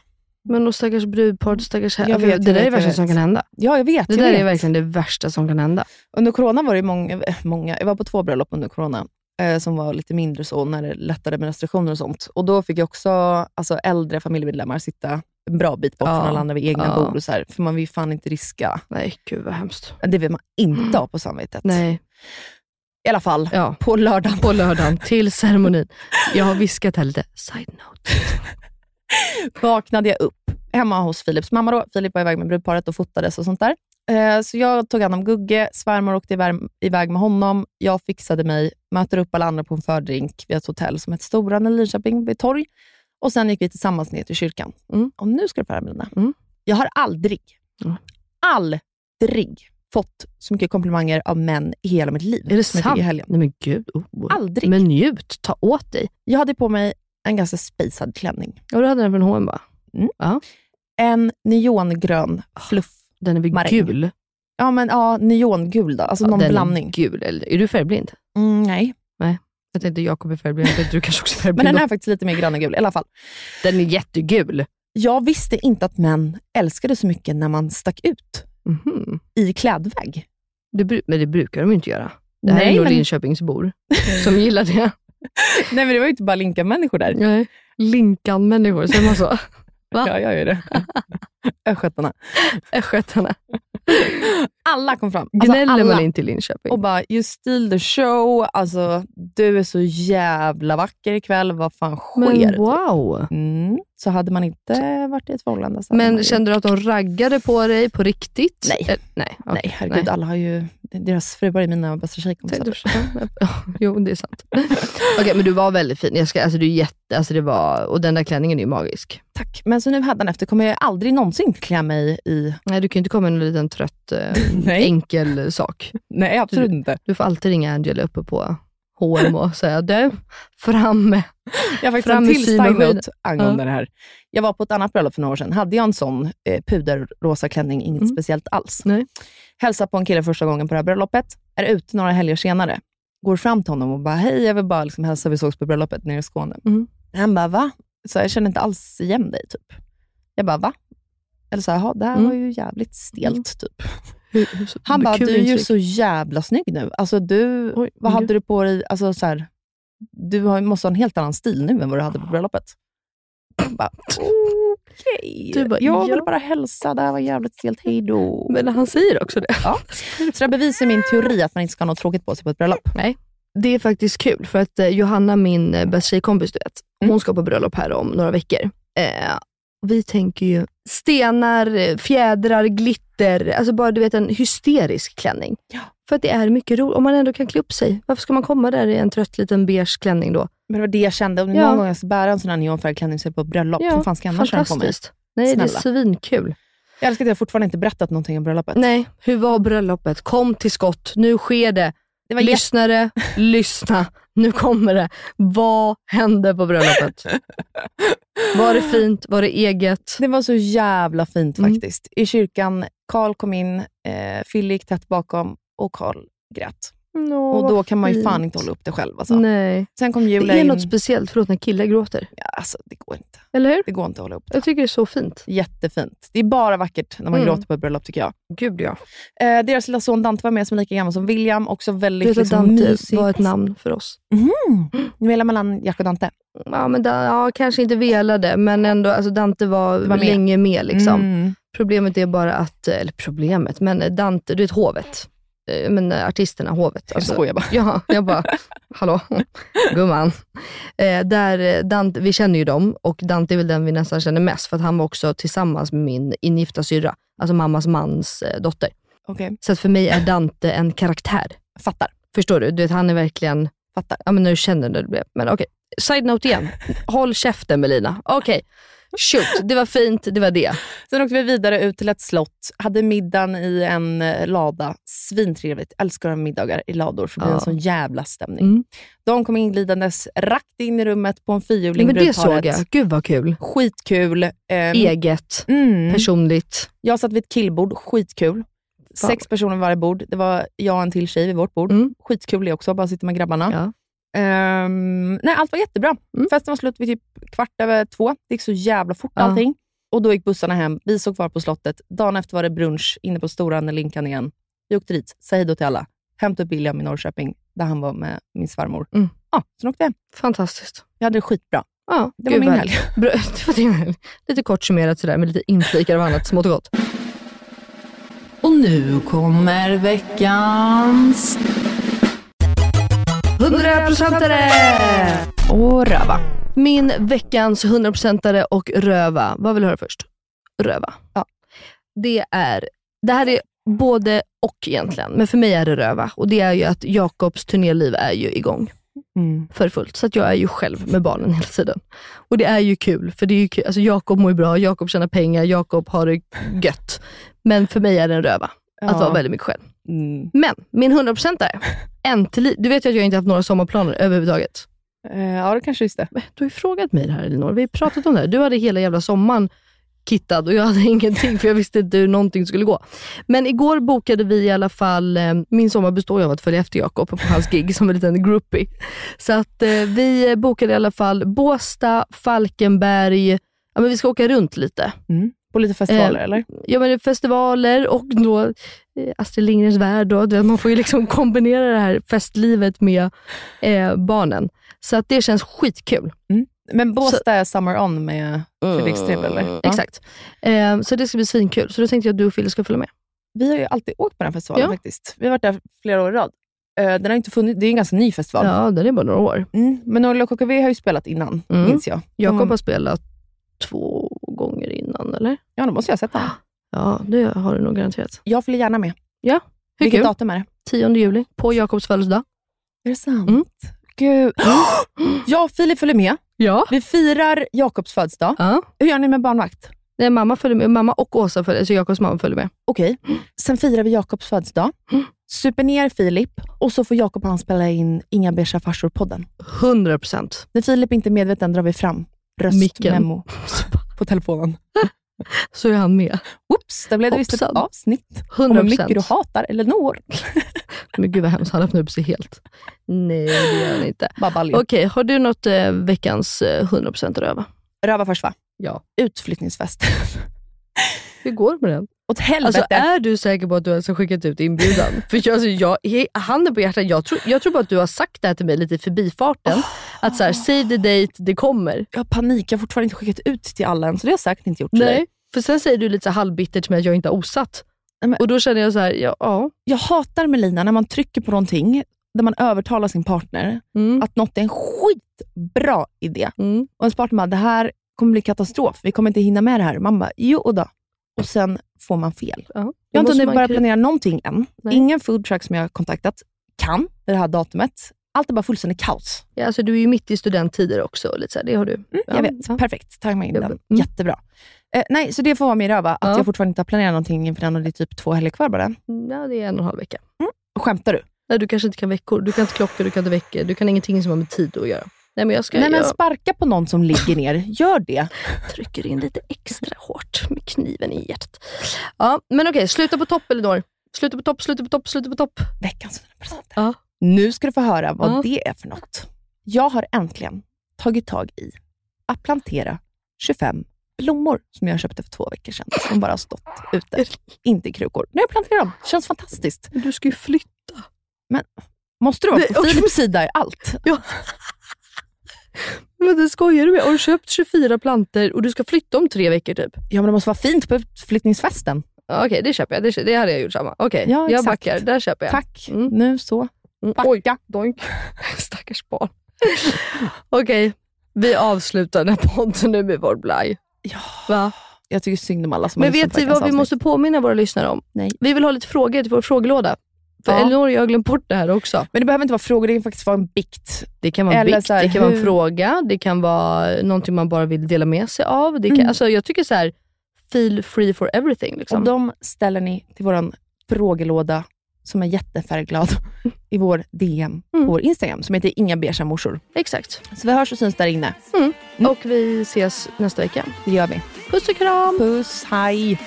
Speaker 2: Men och stackars brudpar, stackars
Speaker 4: Jag
Speaker 2: jag
Speaker 4: vet, jag
Speaker 2: Det där är
Speaker 4: vet,
Speaker 2: det
Speaker 4: jag
Speaker 2: värsta
Speaker 4: vet.
Speaker 2: som kan hända.
Speaker 4: Ja, jag vet.
Speaker 2: Det
Speaker 4: jag
Speaker 2: där
Speaker 4: vet.
Speaker 2: är verkligen det värsta som kan hända.
Speaker 4: Under corona var det många, eh, många, jag var på två bröllop under corona, eh, som var lite mindre så, när det lättade med restriktioner och sånt. Och Då fick jag också alltså, äldre familjemedlemmar sitta en bra bit bort
Speaker 2: Ja,
Speaker 4: från alla andra vid egna
Speaker 2: ja.
Speaker 4: bord, och så här, för man vill ju fan inte riska.
Speaker 2: Nej, gud vad hemskt.
Speaker 4: Det vill man inte ha på samvetet.
Speaker 2: Mm. Nej,
Speaker 4: I alla fall,
Speaker 2: ja.
Speaker 4: på lördagen.
Speaker 2: På lördagen till ceremonin. Jag har viskat här lite, side note.
Speaker 4: vaknade jag upp hemma hos Philips mamma. Då. Filip var iväg med brudparet och fotades och sånt där. Eh, Så jag tog hand om Gugge, svärmor åkte iväg- iväg med honom. Jag fixade mig, möter upp alla andra på en fördrink vid ett hotell som heter Storan i Linköping, vid ett torg. Och sen gick vi tillsammans ner till kyrkan.
Speaker 2: Mm.
Speaker 4: Och nu ska du få höra Melina.
Speaker 2: Mm.
Speaker 4: Jag har aldrig,
Speaker 2: Mm.
Speaker 4: aldrig fått så mycket komplimanger av män i hela mitt liv.
Speaker 2: Är det
Speaker 4: som jag fick
Speaker 2: sant?
Speaker 4: I helgen.
Speaker 2: Nej men gud. Oh.
Speaker 4: Aldrig.
Speaker 2: Men njut, ta åt dig.
Speaker 4: Jag hade på mig en ganska spejsad klänning.
Speaker 2: Ja, du hade den från H&M va?
Speaker 4: En neongrön fluff
Speaker 2: Den är väl
Speaker 4: Maräng.
Speaker 2: gul?
Speaker 4: Ja, men ja, neongul då. Alltså
Speaker 2: Ja,
Speaker 4: någon
Speaker 2: den Är,
Speaker 4: blandning.
Speaker 2: gul. Eller, är du färgblind?
Speaker 4: Mm, nej,
Speaker 2: Jag tänkte Jakob är färgblind, jag tänkte du kanske också är
Speaker 4: men
Speaker 2: färgblind.
Speaker 4: den
Speaker 2: den,
Speaker 4: är faktiskt lite mer grön och gul i alla fall.
Speaker 2: den är jättegul.
Speaker 4: Jag visste inte att män älskade så mycket när man stack ut
Speaker 2: Mhm.
Speaker 4: i klädväg.
Speaker 2: Det, bru- men det brukar de ju inte göra. Det här
Speaker 4: Nej,
Speaker 2: är nog
Speaker 4: men-
Speaker 2: Linköpingsbor som gillar det.
Speaker 4: Nej, men det var ju inte bara linka människor där.
Speaker 2: Nej. Linkan-människor, säger man så? Va?
Speaker 4: Ja, jag gör det. Östgötarna.
Speaker 2: Östgötarna.
Speaker 4: Alla kom fram.
Speaker 2: Gnäller
Speaker 4: Alltså, alla.
Speaker 2: man inte i
Speaker 4: Alltså,
Speaker 2: Linköping?
Speaker 4: Och bara, you steal the show. Alltså, du är så jävla vacker ikväll. Vad fan
Speaker 2: Men
Speaker 4: sker? typ.
Speaker 2: wow.
Speaker 4: Mm. Så hade man inte varit i ett förhållande så hade man
Speaker 2: Men
Speaker 4: ju-
Speaker 2: kände du att de raggade på dig på riktigt?
Speaker 4: Nej.
Speaker 2: Eh, nej, okej.
Speaker 4: Nej, Typ, herregud. Alla har ju... Deras fruar är mina bästa tjejkompisar.
Speaker 2: Jo, det är sant. Okej, men du var väldigt fin. Jag ska, alltså, du är jätte, alltså, det var, och den där klänningen är ju magisk.
Speaker 4: Tack. Men så nu hädanefter efter kommer jag aldrig någonsin klä mig i...
Speaker 2: Nej, du kan ju inte komma med en liten trött, eh,
Speaker 4: Nej.
Speaker 2: enkel sak.
Speaker 4: Nej, absolut
Speaker 2: du,
Speaker 4: inte.
Speaker 2: Du får alltid ringa Angela uppe på H&M och säga, du, fram med
Speaker 4: Jag har faktiskt
Speaker 2: Fram
Speaker 4: en
Speaker 2: med
Speaker 4: till
Speaker 2: symaskinen.
Speaker 4: side-note angående
Speaker 2: Ja.
Speaker 4: det här. Jag var på ett annat bröllop för några år sedan. Hade jag en sån eh, puderrosa klänning, inget speciellt alls.
Speaker 2: Mm. Nej.
Speaker 4: Hälsar på en kille första gången på det här bröllopet. Är ute några helger senare. Går fram till honom och bara, hej, jag vill bara liksom hälsa, vi sågs på bröllopet nere i Skåne.
Speaker 2: Mm.
Speaker 4: Han bara, va? Så här, jag känner inte alls igen dig, typ. Jag bara, va? Eller så här, "Jaha, det här
Speaker 2: Mm.
Speaker 4: var ju jävligt stelt, typ.
Speaker 2: Hur- hur- så- Mm.
Speaker 4: Han bara,
Speaker 2: kul
Speaker 4: du är ju
Speaker 2: intryck.
Speaker 4: så jävla snygg nu. Alltså, du,
Speaker 2: Oj,
Speaker 4: vad
Speaker 2: men
Speaker 4: hade
Speaker 2: gud.
Speaker 4: du på dig? Alltså, så här, du har, måste ha en helt annan stil nu än vad du
Speaker 2: Ah.
Speaker 4: hade på bröllopet. Jag bara, okej.
Speaker 2: Du bara,
Speaker 4: jag vill
Speaker 2: ja.
Speaker 4: bara hälsa. Det här var jävligt stelt. Hej då.
Speaker 2: Men han säger också det.
Speaker 4: Ja. Så det bevisar min teori att man inte ska ha något tråkigt på sig på ett bröllop.
Speaker 2: Nej. Det är faktiskt kul, för att eh, Johanna, min eh, bästa tjejkompis, du vet,
Speaker 4: Mm.
Speaker 2: hon ska på bröllop här om några veckor. Eh, vi tänker ju stenar, eh, fjädrar, glitter, alltså bara du vet en hysterisk klänning. För att det är mycket roligt, om man ändå kan klä upp sig. Varför ska man komma där i en trött liten beige klänning då?
Speaker 4: Men det var det jag kände. Om
Speaker 2: Ja.
Speaker 4: någon gång jag ska bära en sån här neonfärgad klänning så är det på ett bröllop. Hur fan ska jag annars ha den på mig?
Speaker 2: fantastiskt. Nej, det är
Speaker 4: Snälla.
Speaker 2: svinkul.
Speaker 4: Jag älskar att jag fortfarande inte berättat någonting om bröllopet.
Speaker 2: Nej, hur var bröllopet? Kom till skott, nu sker det.
Speaker 4: Det var
Speaker 2: Lyssnare, lyssna. Nu kommer det. Vad hände på bröllopet? Var det fint? Var det eget?
Speaker 4: Det var så jävla fint
Speaker 2: Mm.
Speaker 4: faktiskt. I kyrkan, Karl kom in, eh, Fille gick tätt bakom och Karl grät.
Speaker 2: Mm, Nå,
Speaker 4: och då
Speaker 2: vad
Speaker 4: kan man ju fan
Speaker 2: fint.
Speaker 4: inte hålla upp det själv. Alltså.
Speaker 2: Nej.
Speaker 4: Sen kom
Speaker 2: Det
Speaker 4: Julia
Speaker 2: är
Speaker 4: in.
Speaker 2: något speciellt, förlåt, när killar gråter.
Speaker 4: Ja, alltså, det, går inte.
Speaker 2: Eller hur?
Speaker 4: det går inte att hålla upp det.
Speaker 2: Jag tycker det är så fint.
Speaker 4: Jättefint. Det är bara vackert när man
Speaker 2: Mm.
Speaker 4: gråter på ett bröllop tycker jag.
Speaker 2: Gud ja.
Speaker 4: Eh, deras lilla son Dante var med som är lika gammal som William. Också
Speaker 2: Du
Speaker 4: väldigt
Speaker 2: vet att
Speaker 4: liksom,
Speaker 2: Dante
Speaker 4: mysigt.
Speaker 2: var ett namn för oss.
Speaker 4: Nu velar mellan Jack och Dante.
Speaker 2: Ja, men da, ja, kanske inte velade, men ändå, alltså Dante var,
Speaker 4: Det var med.
Speaker 2: länge med. Liksom.
Speaker 4: Mm.
Speaker 2: Problemet är bara att, eh, eller problemet, men Dante, du vet hovet. Eh, Men eh, artisterna, hovet.
Speaker 4: Jag skojar bara.
Speaker 2: Ja, jag bara, hallå, gumman. Eh, där eh, Dante, vi känner ju dem och Dante är väl den vi nästan känner mest, för att han var också tillsammans med min ingifta syrra, alltså mammas mans eh, dotter.
Speaker 4: Okej,
Speaker 2: Så att för mig är Dante en karaktär.
Speaker 4: fattar.
Speaker 2: Förstår du? Du vet, han är verkligen...
Speaker 4: Fattar.
Speaker 2: Ja, men när du känner det. det- Men okej. Side-note igen. Håll käften Melina. Okej. Shoot, det var fint. Det var det.
Speaker 4: Sen åkte vi vidare ut till ett slott, hade middagen i en eh, lada. Svintrevligt. Älskar att ha middagar i lador för det blir
Speaker 2: Ja.
Speaker 4: en sån jävla stämning.
Speaker 2: Mm.
Speaker 4: De kom inglidandes rakt in i rummet på en fyrhjuling,
Speaker 2: Men det såg
Speaker 4: brudparet.
Speaker 2: jag. E- Gud vad kul.
Speaker 4: Skitkul. Ehm,
Speaker 2: Eget,
Speaker 4: mm.
Speaker 2: personligt.
Speaker 4: Jag satt vid ett killbord, skitkul.
Speaker 2: Fan.
Speaker 4: Sex personer vid varje bord. Det var jag och en till tjej vid vårt bord.
Speaker 2: Mm.
Speaker 4: Skitkul det också, bara sitta med grabbarna.
Speaker 2: Ja.
Speaker 4: Ehm, nej, allt var jättebra.
Speaker 2: Mm.
Speaker 4: Festen var slut vid typ kvart över två. Det gick så jävla fort
Speaker 2: Ja.
Speaker 4: allting. Och då gick bussarna hem. Vi såg kvar på slottet. Dagen efter var det brunch inne på Stora Linkan igen. Vi åkte dit, sa hej då till alla. Hämtade upp William i Norrköping, där han var med min svärmor.
Speaker 2: Mm.
Speaker 4: Ja, sen åkte vi hem.
Speaker 2: Fantastiskt.
Speaker 4: Vi hade det skitbra.
Speaker 2: Ja,
Speaker 4: Det
Speaker 2: gud
Speaker 4: var min
Speaker 2: vad-
Speaker 4: helg.
Speaker 2: Bra, det var din helg. Lite kort summerat sådär, med lite inflikar av annat smått och gott.
Speaker 9: Och nu kommer veckans...
Speaker 2: 100%are!
Speaker 4: Och röva.
Speaker 2: Min veckans 100%are och röva. Vad vill du höra först? Röva.
Speaker 4: Ja.
Speaker 2: Det, är, det här är både och egentligen, men för mig är det röva. Och Det är ju att Jakobs turnéliv är ju igång
Speaker 4: Mm.
Speaker 2: för fullt. Så att jag är ju själv med barnen hela tiden. Och det är ju kul, för det är ju kul. Alltså Jakob mår ju bra, Jakob tjänar pengar, Jakob har det gött. Men för mig är det en röva, att
Speaker 4: Ja.
Speaker 2: vara väldigt mycket själv.
Speaker 4: Mm.
Speaker 2: Men min 100%are, äntligen. Du vet ju att jag inte haft några sommarplaner överhuvudtaget.
Speaker 4: Eh, ja, det kanske visste.
Speaker 2: Men Du har ju frågat mig det här Elinor. Vi har ju pratat om det här. Du hade hela jävla sommaren kittad och jag hade ingenting för jag visste inte hur någonting skulle gå. Men igår bokade vi i alla fall, eh, min sommar består ju av att följa efter Jakob på hans gig som en liten groupie. Så att eh, vi bokade i alla fall Båstad, Falkenberg, ja, men vi ska åka runt lite.
Speaker 4: På lite festivaler,
Speaker 2: Eh,
Speaker 4: eller?
Speaker 2: Ja, men det är festivaler och då eh, Astrid Lindgrens värld. Då, Du vet, man får ju liksom kombinera det här festlivet med eh, barnen. Så att det känns skitkul.
Speaker 4: Men Båstad är Summer On med Fredrik Strebe, eller?
Speaker 10: Mm.
Speaker 2: Exakt. Ehm, så det ska bli svinkul. Så då tänkte jag att du och Fille ska följa med. Vi har ju alltid åkt på den här festivalen
Speaker 10: Ja.
Speaker 2: faktiskt. Vi har varit där flera år i rad. Eh, Den har inte funnits, det är ju en ganska ny festival.
Speaker 10: Ja, den är bara några år.
Speaker 2: Mm. Men Norli och KKV har ju spelat innan,
Speaker 10: Mm.
Speaker 2: minns jag.
Speaker 10: Jakob
Speaker 2: Mm.
Speaker 10: har spelat två gånger innan, eller?
Speaker 2: Ja, då måste jag ha sett den.
Speaker 10: Ja, det har du nog garanterat.
Speaker 2: Jag följer gärna med.
Speaker 10: Ja, hur
Speaker 2: Vilket
Speaker 10: kul?
Speaker 2: datum är det?
Speaker 10: 10 juli, på Jakobs födelsedag.
Speaker 2: Är det sant?
Speaker 10: Mm.
Speaker 2: Gud. Jag och Filip följer med.
Speaker 10: Ja.
Speaker 2: Vi firar Jakobs födelsedag. Hur gör ni med barnvakt?
Speaker 10: Nej, mamma, följer med, mamma och Åsa följer så Jakobs mamma följer med.
Speaker 2: Okej. Sen firar vi Jakobs födelsedag, super ner Filip och så får Jakob och han spela in Inga beiga farsor-podden.
Speaker 10: 100 procent.
Speaker 2: När Filip inte är medveten drar vi fram röstmemo på telefonen.
Speaker 10: Så är han med.
Speaker 2: Oops, där blev det visst ett
Speaker 10: Hoppsan.
Speaker 2: avsnitt om
Speaker 10: 100%.
Speaker 2: hur mycket du hatar Elinor.
Speaker 10: Men gud vad hemskt, han öppnar upp sig helt. Nej, det gör han inte.
Speaker 2: Babaljo.
Speaker 10: Okej, har du något eh, veckans eh, 100% att röva?
Speaker 2: Röva först va?
Speaker 10: Ja.
Speaker 2: Utflyttningsfest.
Speaker 10: Hur går det med den?
Speaker 2: Åt helvete.
Speaker 10: Alltså, är du säker på att du ens har skickat ut inbjudan? För jag, alltså, jag, he- handen på hjärtat, jag tror, jag tror bara att du har sagt det här till mig lite i förbifarten. Att så här, save the date, det kommer.
Speaker 2: Jag har panik, jag har fortfarande inte skickat ut till alla än, så det har jag säkert inte gjort till dig.
Speaker 10: Nej, för sen säger du lite så här halvbittert till mig att jag inte har osatt. Och då känner jag så här, ja. ja.
Speaker 2: Jag hatar Melina när man trycker på någonting där man övertalar sin partner
Speaker 10: Mm.
Speaker 2: att något är en skitbra idé. Och ens partner bara, det här kommer bli katastrof. Vi kommer inte hinna med det här. Man bara, jo och då. Och sen får man fel.
Speaker 10: Ja.
Speaker 2: Jag har
Speaker 10: Då
Speaker 2: inte
Speaker 10: måste
Speaker 2: hunnit
Speaker 10: man
Speaker 2: börja
Speaker 10: kry-
Speaker 2: planera någonting än.
Speaker 10: Nej.
Speaker 2: Ingen foodtruck som jag har kontaktat kan det här datumet. Allt är bara fullständigt kaos. Mm,
Speaker 10: Ja, alltså, du är ju mitt i studenttider också. och Lite så här, det har du.
Speaker 2: jag vet. Perfekt. Tajma in
Speaker 10: Jag
Speaker 2: den.
Speaker 10: vet.
Speaker 2: Jättebra. Eh, nej, så det får vara min röva, att
Speaker 10: Mm. Ja.
Speaker 2: jag fortfarande inte har planerat någonting inför den och det är typ två helger kvar bara.
Speaker 10: Ja, det är en och en halv vecka.
Speaker 2: Skämtar du?
Speaker 10: Nej, du kanske inte kan veckor. Du kan inte klockor, du kan inte veckor. Du kan ingenting som har med tid att göra. Nej, men jag ska...
Speaker 2: Nej, men
Speaker 10: jag...
Speaker 2: sparka på någon som ligger ner. Gör det.
Speaker 10: trycker in lite extra hårt med kniven i hjärtat. Ja, men okej, sluta på topp Elinor. Sluta på topp, sluta på topp, sluta på topp.
Speaker 2: Veckans 100%.
Speaker 10: Ja.
Speaker 2: Nu ska du få höra vad
Speaker 10: Ja.
Speaker 2: det är för något. Jag har äntligen tagit tag i att plantera 25 blommor som jag köpte för två veckor sedan. Som bara har stått ute, inte i krukor. Nu har jag planterat dem. känns fantastiskt.
Speaker 10: Men du ska ju flytta.
Speaker 2: Men måste du vara
Speaker 10: Nej,
Speaker 2: på
Speaker 10: okej.
Speaker 2: Philips sida i allt?
Speaker 10: Ja. Men det skojar du med? Har du köpt 24 planter och du ska flytta om tre veckor typ?
Speaker 2: Ja, men det måste vara fint på utflyttningsfesten.
Speaker 10: Ja, Okej, det köper jag. Det, kö- det hade jag gjort samma. Okej,
Speaker 2: Ja,
Speaker 10: jag
Speaker 2: exakt.
Speaker 10: backar. Där köper jag.
Speaker 2: Tack.
Speaker 10: Mm.
Speaker 2: Nu så.
Speaker 10: Mm,
Speaker 2: Backa.
Speaker 10: Oj, doink. Stackars barn. Okej, vi avslutar den här podden nu med vår blaj.
Speaker 2: Ja.
Speaker 10: Va?
Speaker 2: Jag tycker synd om alla som
Speaker 10: Men
Speaker 2: har lyssnat
Speaker 10: vet
Speaker 2: på
Speaker 10: ni
Speaker 2: veckans
Speaker 10: vad vi
Speaker 2: avsnitt.
Speaker 10: måste påminna våra lyssnare om?
Speaker 2: Nej.
Speaker 10: Vi vill ha lite frågor till vår frågelåda. För
Speaker 2: Ja.
Speaker 10: Elinor och jag har glömt bort det här också.
Speaker 2: Men det behöver inte vara frågor, det kan faktiskt vara en bikt.
Speaker 10: Det kan vara en
Speaker 2: Eller
Speaker 10: bikt,
Speaker 2: så här,
Speaker 10: det kan vara en
Speaker 2: hur-
Speaker 10: fråga, det kan vara någonting man bara vill dela med sig av. Det kan,
Speaker 2: Mm.
Speaker 10: alltså, jag tycker så här, feel free for everything. Liksom.
Speaker 2: Och de ställer ni till vår frågelåda, som är jättefärgglad, i vår DM på vår Instagram, som heter Inga beiga morsor.
Speaker 10: Mm. Exakt.
Speaker 2: Så vi hörs och syns där inne.
Speaker 10: Mm. Och vi ses nästa vecka.
Speaker 2: Det gör vi.
Speaker 10: Puss och kram!
Speaker 2: Puss, hej!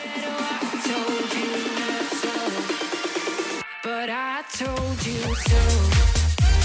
Speaker 11: But I told you so.